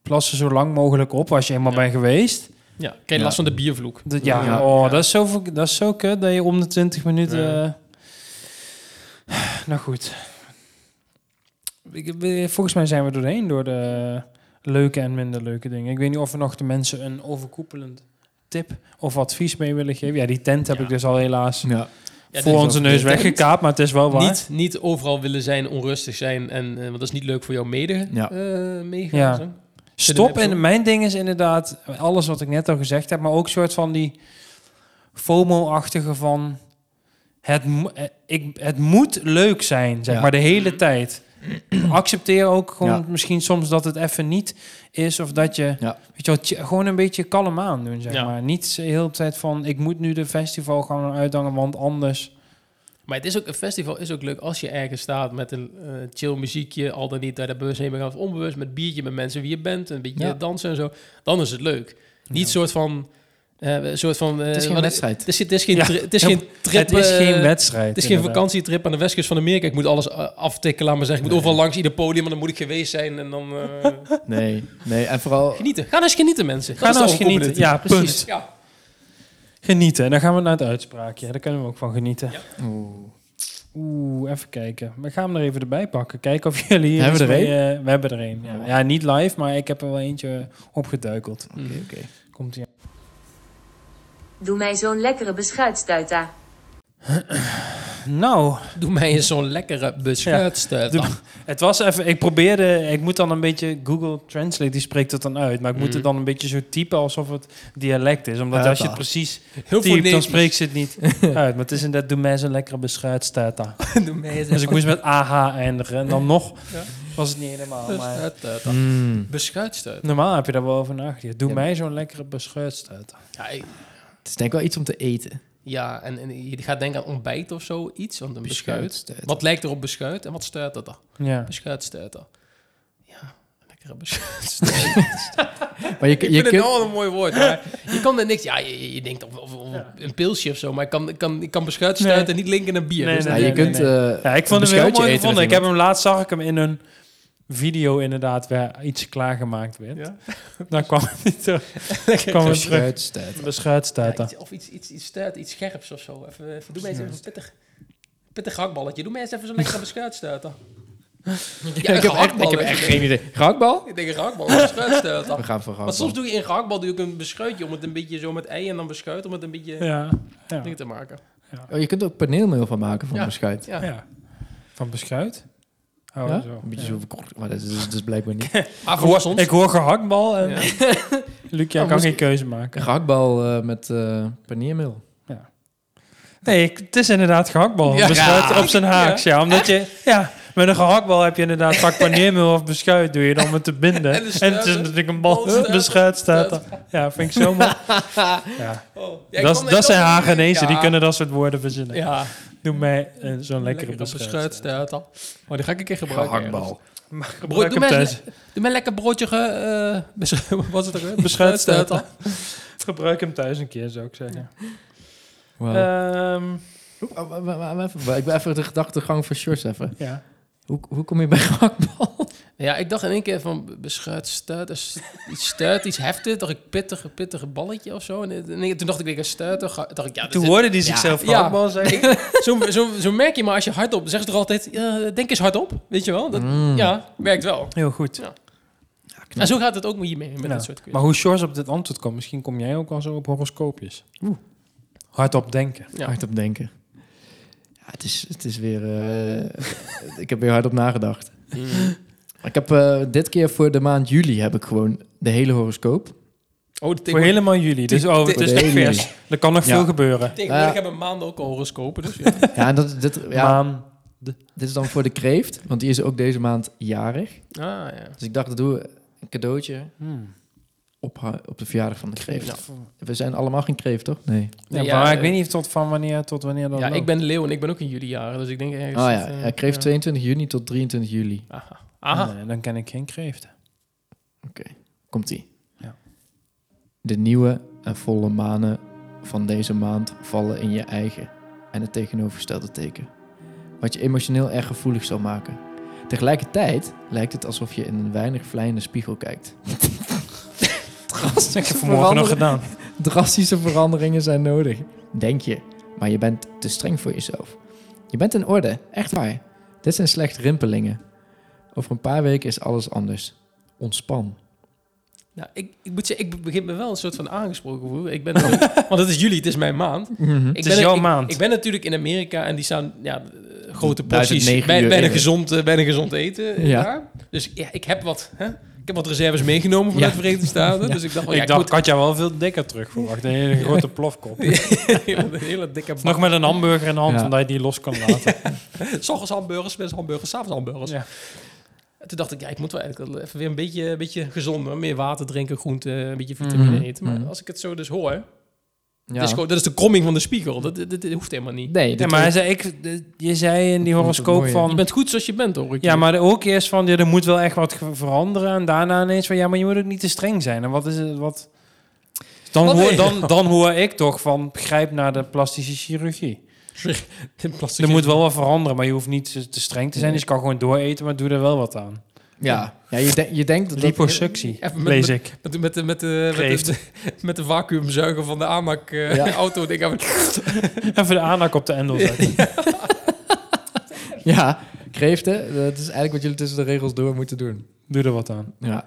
A: plassen zo lang mogelijk op als je eenmaal
B: Ja.
A: bent geweest.
B: Ja, krijg je
C: Ja.
B: last van de biervloek.
A: Dat, ja,
C: Ja.
A: Oh,
B: Ja.
A: Dat, is zo, ver- dat is zo kut dat je om de 20 minuten...
B: Ja.
A: eh, nou goed. Ik- we- Volgens mij zijn we doorheen door de leuke en minder leuke dingen. Ik weet niet of we nog de mensen een overkoepelend tip of advies mee willen geven. Ja, die tent heb
B: Ja.
A: ik dus al helaas
C: Ja.
B: Ja,
A: voor
B: dit-
A: onze neus
B: dit-
A: weggekaapt, maar het is wel waar.
B: Niet, niet overal willen zijn, onrustig zijn. En, eh, want dat is niet leuk voor jouw mede,
C: Ja.
B: eh,
A: Ja.
B: meegaan.
A: Stop.
B: Kunnen we
A: En mijn ding is inderdaad alles wat ik net al gezegd heb, maar ook soort van die FOMO-achtige van het, mo- eh, ik, het moet leuk zijn, zeg
C: Ja.
A: maar, de hele tijd. Accepteer ook gewoon
C: Ja.
A: misschien soms dat het even niet is of dat je,
C: Ja.
A: weet je wel, tje- gewoon een beetje kalm aan doen, zeg
B: Ja.
A: maar. Niet zo heel de tijd van, ik moet nu de festival gaan uitdangen, want anders...
B: Maar het is ook, een festival is ook leuk als je ergens staat met een eh, chill muziekje, al dan niet daar de bus heen gaan of onbewust, met biertje, met mensen wie je bent, een beetje
C: Ja.
B: dansen en zo. Dan is het leuk. Niet
A: Ja.
B: soort van... eh, een soort van eh,
C: Het is geen
B: wat-
C: wedstrijd.
B: Het is, het is geen,
A: Ja.
B: tri- het is
A: Ja,
B: geen trip.
A: het is
B: eh,
A: geen wedstrijd.
B: Het is geen
A: inderdaad.
B: vakantietrip aan de westkust van Amerika. Ik moet alles eh, aftikken, laat maar zeggen. Ik moet overal langs ieder podium en dan moet ik geweest zijn. En dan eh,
C: Nee, nee. En vooral...
B: genieten. Ga nou eens genieten, mensen.
A: Ga nou eens genieten. Ja, punt.
B: Ja.
A: Genieten. En dan gaan we naar het uitspraakje. Daar kunnen we ook van genieten.
C: Oeh.
A: Oeh, even kijken. We gaan hem er even erbij pakken. Kijken of jullie... hier
C: Hebben we
A: iets
C: er Oh.
A: mee, eh, we hebben er een. Ja. ja, niet live, maar ik heb er wel eentje eh, opgeduikeld.
C: Oké, oké.
A: Komt ie.
D: Doe mij zo'n lekkere beschuitstuita.
A: Nou,
B: Doe mij eens zo'n lekkere beschuitstuit.
A: Doe- het was even... Ik probeerde... Ik moet dan een beetje... Google Translate, die spreekt het dan uit. Maar ik moet
B: Mhm.
A: het dan een beetje zo typen alsof het dialect is. Omdat
C: Mm. Ja,
A: als je het
C: dat.
A: precies
B: Heel
A: typt, dan
B: Nederlands.
A: spreekt ze het niet uit. Maar het is inderdaad... Doe mij zo'n lekkere beschuitstuit aan.
B: Doe mij eens
A: Dus ik moest met AH eindigen. En dan nog
B: Ja.
A: was het niet
C: Dus
A: helemaal. Maar
B: Beschuitstuit. Hmm.
C: Mm.
B: Beschuitstuit.
A: normaal heb je daar wel over nagedacht. Doe
C: Ja.
A: mij zo'n lekkere beschuitstuit aan.
B: Ja, ik-
C: Het is denk ik wel iets om te eten.
B: ja en, en je gaat denken aan ontbijt of zo. Iets, want een
C: Dus
B: beschuit.
C: Beschuit.
B: Wat lijkt er op beschuit en wat stuit dat dan?
A: Ja.
B: Beschuitstuit dan. Ja, lekkere beschuit.
C: Maar je, je,
B: Ik vind
C: kunt...
B: het wel een mooi woord, maar je kan er niks... Ja, je, je- je denkt of, of, of een pilsje of zo, maar ik kan, ik kan, ik kan beschuit stuiten en niet linken naar bier.
A: Nee,
B: dus
C: Ja,
A: nee,
C: je
A: nee,
C: kunt...
A: nee.
C: eh,
A: Ja, ik
C: een
A: vond hem heel
C: beschuitje
A: mooi
C: eten
A: gevonden.
C: met
A: Ik heb hem laatst zag ik hem in een video inderdaad waar iets klaargemaakt werd.
B: Ja.
A: Dan kwam hij terug. kwam hij terug.
C: Beschuitstuit.
A: De schuitstuiter.
B: iets- of iets, iets, iets stuit, iets scherps of zo. Even, even, doe mij eens even een pittig, pittig hakballetje. Doe mij eens even zo'n lekkere beschuit stuiten. Ja,
C: ik, heb echt, ik heb echt geen idee. Gehaktbal?
B: Ik denk een gehaktbal, een beschuit stuiten.
C: We gaan voor gehaktbal.
B: Maar soms doe je in gehaktbal doe je ook een beschuitje om het een beetje zo met ei en dan beschuit om het een beetje
A: Ja. Ja.
B: ding te maken.
C: Oh, je kunt er ook paneelmeel van maken van
B: Ja.
C: beschuit.
B: Ja.
A: Ja. Van beschuit? Oh,
C: Ja?
A: zo.
C: Een beetje
A: Ja.
C: zo verkort. Maar dat is, dat is blijkbaar niet.
B: Maar
A: Ik
B: Ah, voor
A: hoor,
B: ons.
A: ik hoor gehaktbal en
B: Ja.
A: Luc, jij
C: Oh,
A: kan
C: moest-
A: geen keuze
C: Een
A: maken.
C: gehaktbal eh, met eh paneermeel.
A: Nee, ik- het is inderdaad gehaktbal.
B: Ja.
A: Beschuit op zijn haaks, ja. Omdat je... Ja. Met een gehaktbal heb je inderdaad vaak paneermeel of beschuit doe je dan om het te binden.
B: En
A: En,
B: de
A: het is
B: stuiter.
A: natuurlijk een bal
B: Balstuiter.
A: beschuit staat er. Ja, vind ik zo mooi. Ja.
B: Oh, ja, ik
A: dat
B: kwam- ik
A: dat zijn
B: kwam-
A: Hagenezen, die
B: Ja.
A: kunnen dat soort woorden verzinnen.
B: Ja,
A: Doe mij eh, zo'n lekkere beschuit.
B: beschuitstuit al. Maar die ga ik een keer gebruiken.
C: Gehaktbal.
A: Maar
B: Brood,
A: gebruik
B: doe, mij,
A: hem thuis.
B: doe mij lekker broodje ge, eh, bes- wat was het ook? weer?
A: Beschuitstuit.
B: Beschuitstuit al.
A: Gebruik hem thuis een keer, zou ik zeggen.
C: Wow.
A: Ehm,
C: Hoe- oh, wa- wa- wa- wa- even- ik ben even de gedachtegang van Shorts even.
A: ja.
C: Hoe, hoe kom je bij gehaktbal?
B: Ja, ik dacht in één keer van beschuit, stuit, is iets stuit, iets heftig. Dacht ik pittige, pittige balletje of zo. En in één keer- toen dacht ik, ik een stuit. Toen ga- dacht ik, ja, dit
A: Toen
B: is-
A: hoorden die zichzelf
B: ja.
A: gehaktbal zeggen.
B: zo, zo, zo merk je maar als je hardop, zeggen ze er altijd, eh, denk eens hardop, weet je wel. Dat, Ja, werkt wel.
A: Heel goed.
B: En zo gaat het ook hiermee, met
A: Nou,
B: dit soort
A: maar
B: kwesties.
A: hoe Shores op dit antwoord komt, misschien kom jij ook wel zo op horoscoopjes.
C: Oeh.
A: Hardop denken.
B: Ja.
C: Hard op denken. Ja, het, is, het is weer... eh, ik heb weer hard op nagedacht. Mm.
B: Oh,
C: Ik heb eh, dit keer voor de maand juli heb ik gewoon de hele horoscoop.
B: Oh, de
A: Voor helemaal jullie. Dus oh, het
B: Voor
A: is
C: de
A: nog
C: hele
A: vers. Er kan nog
C: Ja.
A: veel gebeuren.
B: tegenwoordig
C: Ja. Ah,
B: hebben maanden ook al horoscopen, dus ja.
C: Ja, en dat, dit, ja,
A: Maan.
C: dit is dan voor de kreeft, want die is ook deze maand jarig.
B: Ah, ja.
C: Dus ik dacht, dat doe we een cadeautje
A: Hmm.
C: op, haar- op de verjaardag van de kreeft.
B: Ja.
C: We zijn allemaal geen kreeft, toch? Nee.
A: Ja,
B: Ja,
A: maar
B: eh,
A: ik weet niet tot van wanneer tot wanneer dat
B: Ja,
A: loopt.
B: ik ben leeuw en ik ben ook in juli jaren, dus ik denk ergens...
C: Oh
B: dat,
C: ja,
B: eh,
C: hij kreeft
B: ja.
C: 22 juni tot 23 juli.
B: Aha. Aha.
A: Nee, dan ken ik geen kreeften.
C: Komt-ie.
A: Ja.
C: De nieuwe en volle manen van deze maand vallen in je eigen en het tegenovergestelde teken. Wat je emotioneel erg gevoelig zal maken. Tegelijkertijd lijkt het alsof je in een weinig vlijende spiegel kijkt.
A: Dat heb ik vanmorgen nog gedaan.
C: Drastische veranderingen zijn nodig, denk je. Maar je bent te streng voor jezelf. Je bent in orde, echt waar. Dit zijn slechts rimpelingen. Over een paar weken is alles anders. Ontspan.
B: Nou, ik, ik moet zeggen, ik begin me wel een soort van aangesproken voelen. Ik ben, natuurlijk- want het is juli, het is mijn maand. Ik
A: is
B: ben,
A: jouw
B: ik,
A: maand.
B: Ik ben natuurlijk in Amerika en die staan ja, eh, grote
C: Daar is het
B: porties.
C: negen
B: Bij,
C: uur
B: bijna,
C: eerder.
B: gezond, eh, bijna gezond eten eh,
C: Ja.
B: daar. Dus ja, ik heb wat, hè? ik heb wat reserves meegenomen vanuit
C: Ja.
B: de Verenigde Staten. Dus ik dacht, wel, ja,
A: ik dacht, Katja wel veel dikker terug verwacht. Een hele grote plofkop.
B: moet een hele dikke
A: Nog met een hamburger in de hand,
C: Ja.
A: omdat je die los kan laten.
B: S'ochtends hamburgers, middags hamburgers, s'avonds hamburgers.
A: Ja.
B: En Toen dacht ik, ja, ik moet wel eigenlijk wel even weer een beetje, een beetje gezonder. Meer water drinken, groente, een beetje vitamine
C: Mhm,
B: eten. Maar
C: mhm.
B: als ik het zo dus hoor,
C: Ja.
B: dit is gewoon, dat is de kromming van de spiegel. Dat, dit, dit hoeft helemaal niet.
C: nee,
A: Ja,
C: dit
A: maar hij zei, ik, de- je zei in die
C: Dat is het
A: horoscoop
C: mooie.
B: Je
A: van...
B: bent goed zoals je bent, hoor ik.
A: Ja, maar ook eerst van, ja, er moet wel echt wat ge- veranderen. En daarna ineens van, ja, maar je moet ook niet te streng zijn. En wat is het, wat... Dan,
B: Wat
A: hoor,
B: nee.
A: dan, dan hoor ik toch van, grijp naar de plastische chirurgie.
B: In plastic.
A: Er moet wel wat veranderen, maar je hoeft niet te te streng te zijn. Dus je kan gewoon dooreten, maar doe er wel wat aan.
C: ja. ja je, denk- je denkt dat... dat
A: Liposuctie,
B: Even met-
A: lees ik.
B: Met, de- met, de- met, de, met,
A: Kreeft.
B: de, met de vacuümzuiger van de aanmak eh,
C: Ja.
B: auto. Denk ik, aan-
A: Even de aanhak op de endel zetten.
C: ja, kreeften, eh, dat is eigenlijk wat jullie tussen de regels door moeten doen.
A: Doe er wat aan.
C: Ja.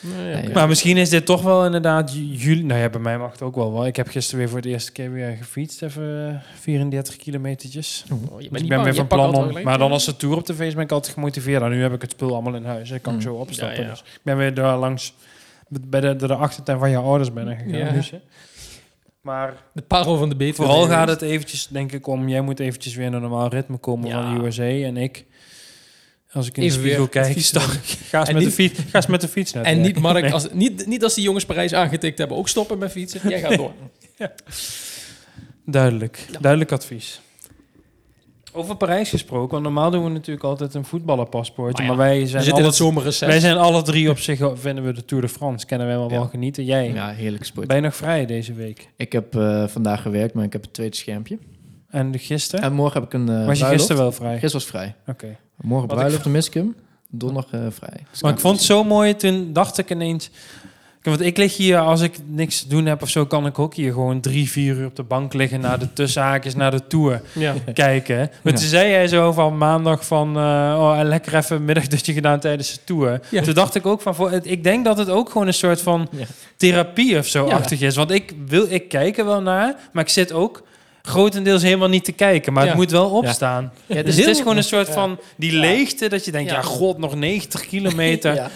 B: Nee, oké.
C: Ja.
A: Maar misschien is dit toch wel inderdaad ju- juli. Nou ja, bij mij mag het ook wel wel. Ik heb gisteren weer voor de eerste keer weer gefietst. Even eh, 34 kilometertjes.
B: Oh, je bent
A: Dus
B: niet
A: ik ben
B: bang,
A: weer
B: je
A: van
B: pakt
A: plan
B: altijd
A: om.
B: wel
A: Maar dan
B: gelijk.
A: als de tour op de feest ben ik altijd gemotiveerd. En nu heb ik het spul allemaal in huis. Ik kan ik
C: Mm.
A: zo opstappen.
B: Hmm. Ja, ja.
A: Dus ik ben weer daar langs bij de, door de achtertuin van je ouders ben ik gegaan.
B: Ja.
A: Dus, hè. maar
B: De parel van de beter.
A: vooral gaat het eventjes, denk ik, om... Jij moet eventjes weer in een normaal ritme komen
B: Ja.
A: van de USA. En ik, als ik in de
B: Even weer
A: spiegel
B: het
A: kijk,
B: fietsen
A: sta, ga, eens
B: En
A: met de
B: niet-
A: fiets, ga eens met de fiets naar het
B: En
A: werk.
B: niet, Mark,
A: Nee.
B: als, niet, niet als die jongens Parijs aangetikt hebben. Ook stoppen met fietsen. Jij gaat door.
A: Duidelijk,
B: Ja.
A: duidelijk advies. Over Parijs gesproken, want normaal doen we natuurlijk altijd een voetballerpaspoortje.
B: Maar ja,
A: Maar, wij zijn
B: We zitten in
A: alle
B: het zomerreces.
A: Wij zijn alle drie op zich, vinden we de Tour de France, kennen wij wel, wel
C: Ja.
A: genieten. Jij,
C: Ja, heerlijk sport.
A: ben je nog vrij deze week?
C: Ik heb eh, vandaag gewerkt, maar ik heb het tweede schermpje.
A: En gisteren?
C: En morgen heb ik een eh
A: was je
C: bruiloft.
A: gisteren wel vrij?
C: Gisteren was vrij.
A: Oké.
C: Morgen
A: Wat
C: bruiloft in Miskum. Donderdag eh, vrij.
A: Maar ik vond het zo mooi, toen dacht ik ineens... Kijk, Want ik lig hier, als ik niks te doen heb of zo, kan ik ook hier gewoon drie, vier uur op de bank liggen... naar de tussenhaakjes, naar de Tour
B: Ja.
A: kijken. Maar toen zei jij zo van maandag van... eh, oh, en lekker even een middagdutje gedaan tijdens de Tour.
B: Ja.
A: Toen dacht ik ook van... Voor, het- ik denk dat het ook gewoon een soort van...
C: Ja.
A: therapie of zo
B: Ja.
A: achtig is. Want ik, wil, ik kijk er wel naar, maar ik zit ook grotendeels helemaal niet te kijken. Maar
B: Ja.
A: het moet wel opstaan.
C: Ja,
A: Dus het is gewoon een soort
B: Ja.
A: van die
B: Ja.
A: leegte dat je denkt,
B: Ja.
A: ja, god, nog 90 kilometer.
C: Ja.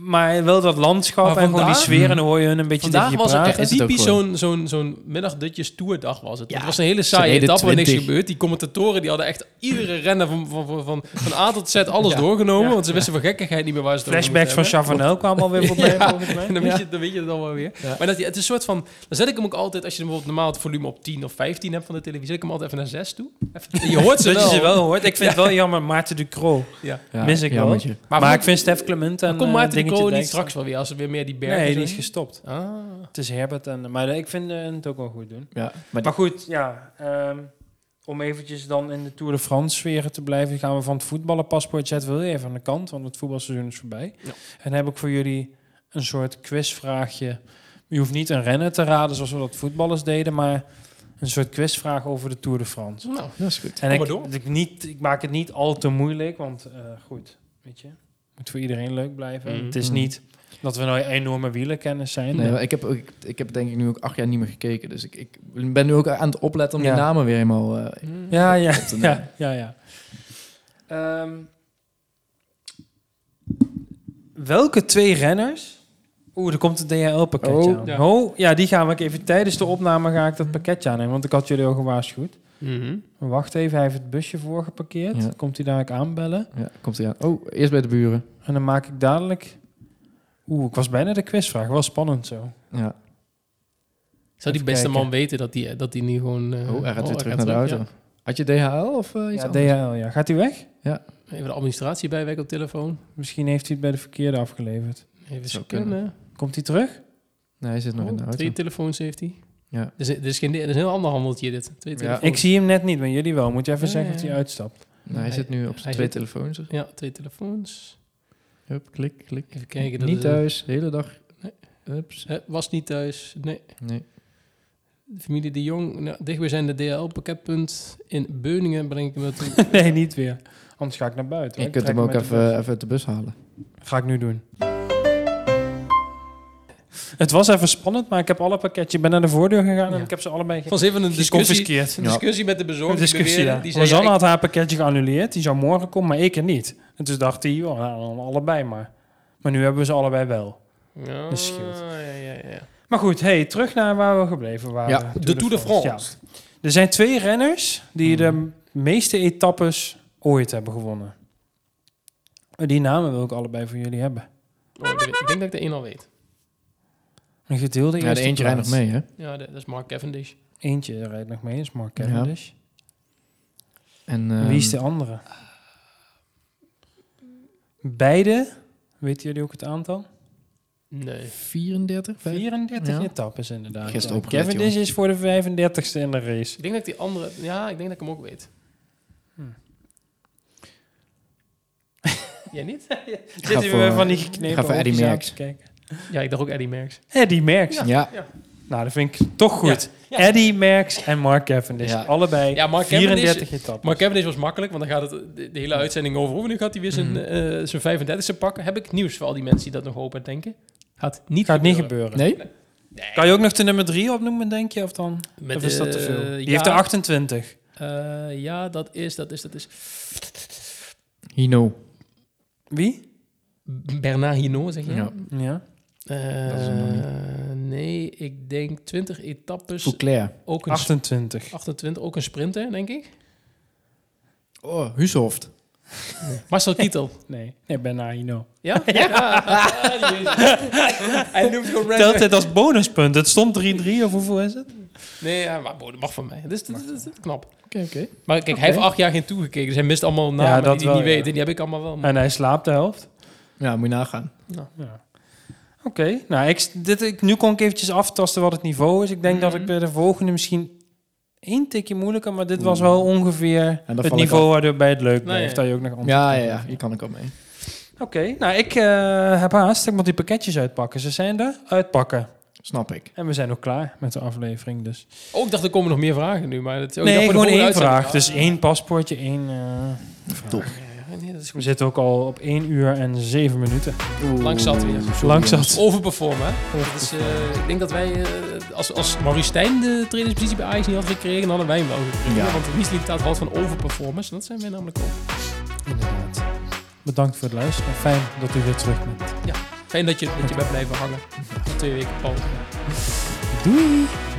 A: Maar wel dat landschap
B: Maar
A: en gewoon die
B: vandaag-
A: sfeer. En dan hoor je hun een beetje tegen
B: Vandaag
A: je
B: was
A: praten.
B: het echt
C: is het ook
B: typisch
C: gewoon.
B: zo'n zo'n zo'n middagdutjes toerdag was het.
C: Ja.
B: Het was een hele
C: Ze
B: saaie
C: deden
B: etappe waar niks
C: 20.
B: gebeurd. Die commentatoren die hadden echt iedere renner van, van, van, van, van A tot Z alles
C: Ja.
B: doorgenomen.
A: Ja.
B: Want ze wisten van gekkigheid niet meer waar ze het over
A: Flashbacks van
B: moeten
A: Chavanel kwamen alweer voorbij,
B: Ja.
A: volgens mij.
B: hebben. En dan weet, je, dan weet je het dan wel weer.
C: Ja.
B: Maar dat, die- het is een soort van... Dan zet ik hem ook altijd, als je bijvoorbeeld normaal het volume op 10 of 15 hebt van de televisie, zet ik hem altijd even naar 6 toe. Even, je hoort ze
A: Dat
B: wel.
A: je ze wel hoort. Ik vind het wel jammer, Maarten Ducro.
B: Ja.
A: Mis ik wel.
C: jammertje.
A: Maar,
B: goed,
A: ik vind Stef Clement en
B: Komt
A: eh,
B: Maarten de
A: Dingetje
B: Koning niet
A: Dijkstra-
B: straks wel weer, als er weer meer die bergen
A: Nee, die
B: zijn?
A: is gestopt.
B: Ah.
A: Het is Herbert. En, maar ik vind eh, het ook wel goed doen.
C: Ja, maar
A: Maar goed, ja. ehm, om eventjes dan in de Tour de France sfeer te blijven, gaan we van het voetballenpaspoort zetten we heel even aan de kant, want het voetbalseizoen is voorbij.
B: Ja.
A: En dan heb ik voor jullie een soort quizvraagje. Je hoeft niet een renner te raden zoals we dat voetballers deden, maar een soort quizvraag over de Tour de France.
B: Nou,
C: dat is goed.
A: En
B: Kom
A: ik,
B: maar door.
A: ik, niet, ik maak het niet al te moeilijk, want eh, goed, weet je, Mm-hmm. moet voor iedereen leuk blijven.
B: Mhm.
A: Het is
C: Mhm.
A: niet dat we nou enorme wielenkennis zijn.
C: Nee, maar ik, heb, ook- ik, ik heb denk ik nu ook acht jaar niet meer gekeken. Dus ik, ik ben nu ook aan het opletten om
A: Ja.
C: die namen weer helemaal... eh,
A: Ja, ja,
C: te nemen.
A: ja, ja, ja. Ehm, welke twee renners... Oeh, er komt een DHL-pakketje
C: Oh,
A: aan.
B: ja.
A: Oh, ja, Mhm. die gaan we ook even... Tijdens de opname ga ik dat pakketje aannemen, want ik had jullie al gewaarschuwd.
B: Mhm.
A: Wacht even, hij heeft het busje voorgeparkeerd.
C: Ja.
A: Komt hij dadelijk aanbellen.
C: ja, komt hij aan. Oh, eerst bij de buren.
A: En dan maak ik dadelijk... Oeh, ik was bijna de quizvraag. Wel spannend zo.
C: Ja.
B: Zou die
A: Even
B: beste
A: kijken.
B: man weten dat die, dat die nu gewoon... eh,
C: Oh, hij gaat weer terug naar
B: gaat
C: de
B: terug,
C: auto. Had je DHL of eh,
B: Oh,
C: iets
A: Ja,
C: anders?
A: DHL, ja. Gaat hij weg?
B: ja. Even de administratie bijwerken op telefoon.
A: Misschien heeft hij het bij de verkeerde afgeleverd.
B: Even
C: Zou
B: scannen.
A: Komt hij terug?
C: Nee, hij zit nog in de
B: Oh,
C: auto.
B: twee telefoons heeft hij.
C: Ja.
B: Dus, dus geen, dat is een heel ander handeltje dit. Twee telefoons.
C: Oh.
A: Ik zie hem net niet, maar jullie wel. Moet je even
B: Ja,
A: zeggen
B: ja,
A: dat hij
B: ja.
A: uitstapt.
C: Nou, hij zit nu op
B: hij
C: zijn twee
B: zit-
C: telefoons. zeg.
B: Ja, twee telefoons.
C: Hup, klik, klik.
B: Even kijken. dat
C: Niet
B: is-
C: thuis, de hele dag.
B: Nee.
C: Hups.
B: Eh, was niet thuis. Nee.
C: Nee.
B: De familie De Jong. Nou, dichtbijzijnde DHL-pakketpunt in Beuningen breng ik hem naartoe.
A: nee, niet weer. Anders ga ik naar buiten. hoor.
C: Je kunt
A: Ik
C: hem
A: trek
C: ook
A: uit de bus.
C: even, even uit de bus halen.
A: Ga ik nu doen. Het was even spannend, maar ik heb alle pakketje. Ik ben naar de voordeur gegaan en
B: Ja.
A: ik heb ze allebei
B: Van zeven een discussie,
A: geconfiskeerd.
B: een
C: Ja.
B: discussie met de bezorger.
A: Een discussie,
B: die
A: ja.
B: beweerde- die zei,
A: Rosanne
B: ja, ik-
A: had haar pakketje geannuleerd. Die zou morgen komen, maar ik er niet. En toen dacht hij, joh, nou, dan allebei maar. Maar nu hebben we ze allebei wel.
B: Ja,
A: Dat scheelt.
B: ja, ja, ja.
A: Maar goed, hey, terug naar waar we gebleven waren.
C: Ja,
A: Tour
B: De Tour de France.
A: Ja. Er zijn twee renners die
C: Hmm.
A: de meeste etappes ooit hebben gewonnen. Die namen wil ik allebei voor jullie hebben.
B: Oh, ik weet- ik denk dat ik de een al weet.
A: Een gedeelde
C: Ja, de
A: eerste
C: eentje rijdt nog
A: plaats.
C: mee, hè?
B: Ja, dat dat is Mark Cavendish.
A: Eentje rijdt nog mee, is Mark
C: Ja.
A: Cavendish.
C: En,
A: Wie is de
C: ehm,
A: andere? Beide, weten jullie ook het aantal?
B: Nee.
C: 34, 35?
A: 34
C: Ja.
A: etappes inderdaad.
C: Gisteren
A: Ja.
C: opgelet,
A: Cavendish is voor de 35ste in de race.
B: Ik denk dat ik die andere... Ja, ik denk dat ik hem ook weet.
A: Hm.
B: Jij niet?
A: Zitten we
C: voor-
A: weer van die
C: ik
A: geknepen
C: ga voor Eddy
A: oogjes aan
C: Merckx.
A: te kijken.
B: Ja, ik dacht ook Eddie Merckx.
A: Eddy Merckx.
C: Ja.
A: Nou, dat vind ik toch goed.
B: Ja.
A: Eddy Merckx en Mark Cavendish.
C: Ja.
A: Allebei
B: Ja, Mark Cavendish-
A: 34 etappes.
B: Mark Cavendish was makkelijk, want dan gaat het de, de hele uitzending over. hoe. Nu gaat hij weer zijn,
C: Mhm.
B: eh, zijn 35e pakken. Heb ik nieuws voor al die mensen die dat nog hopen en denken? Gaat niet
A: Gaat niet
B: gebeuren.
A: gebeuren.
C: Nee?
A: Kan je ook nog de nummer 3 opnoemen, denk je? Of, dan?
B: Met,
A: of is dat te
B: eh,
A: veel? Die
B: ja,
A: heeft er 28.
B: eh, ja, dat is, dat is, dat is...
C: Hino.
A: Wie?
B: Bernard Hinault, zeg je?
C: Ja.
A: Ja.
B: Eh,
C: Dat is hem nog
B: nee, ik denk 20
C: Dus-
B: etappes.
C: Fouclair.
B: Ook een
A: 28.
B: 28, ook een sprinter, denk ik.
C: Oh, Husoft.
B: Marcel Kittel.
A: Nee, nee bijna Hino.
B: Ja? ja. Hij noemt gewoon
A: Telt het als bonuspunt? Het stond 3-3 of hoeveel is het?
B: Nee, ja, maar boh, dat mag van mij. Dat is, dat is- dat is knap.
C: Oké, oké.
B: Maar kijk, hij heeft acht jaar geen toegekeken. Dus hij mist allemaal namen
A: dat
B: die hij niet
A: wel, ja.
B: weet. En die heb ik allemaal wel.
A: En hij slaapt de helft.
C: Ja, moet je nagaan.
A: Ja. Oké, nou, ik, dit, ik, nu kon ik eventjes aftasten wat het niveau is. Ik denk
C: Mhm.
A: dat ik bij de volgende misschien één tikje moeilijker, maar dit was wel ongeveer
C: Mhm. dan
A: het
C: val ik
A: niveau waarbij het leuk
B: Nee,
A: blijft.
B: Nou ja.
A: Dat je ook nog antwoord
C: Ja, ja,
A: kan
C: ja.
A: geven.
C: Hier kan ik al mee.
A: Oké, nou, ik eh, heb haast. Ik moet die pakketjes uitpakken. Ze zijn er. Uitpakken.
C: Snap ik.
A: En we zijn ook klaar met de aflevering, dus...
B: Oh, ik dacht, er komen nog meer vragen nu. Maar dat oh, is ook
A: nee,
B: dat voor de
A: gewoon één
B: volgende
A: vraag.
B: uitzending.
A: Dus één paspoortje, één... eh,
C: Top.
B: Ah, ja, nee, dat is
A: we
B: goed.
A: zitten ook al op 1 uur en 7 minuten.
B: Lang zat weer.
C: Sorry,
A: Lang zat.
C: jongens.
B: Overperformen. hè? Dat is, eh, ik denk dat wij, eh, als, als Maurice Stijn de trainingspositie bij Ajax niet had gekregen, dan hadden wij hem wel gekregen.
C: Ja.
B: Want Wiesli betaalt altijd van overperformance. En dat zijn wij namelijk ook.
A: Inderdaad. Bedankt voor het luisteren. Fijn dat u weer terug bent.
B: Fijn dat je, dat je bent blijven hangen. Tot twee weken pauze.
A: Doei!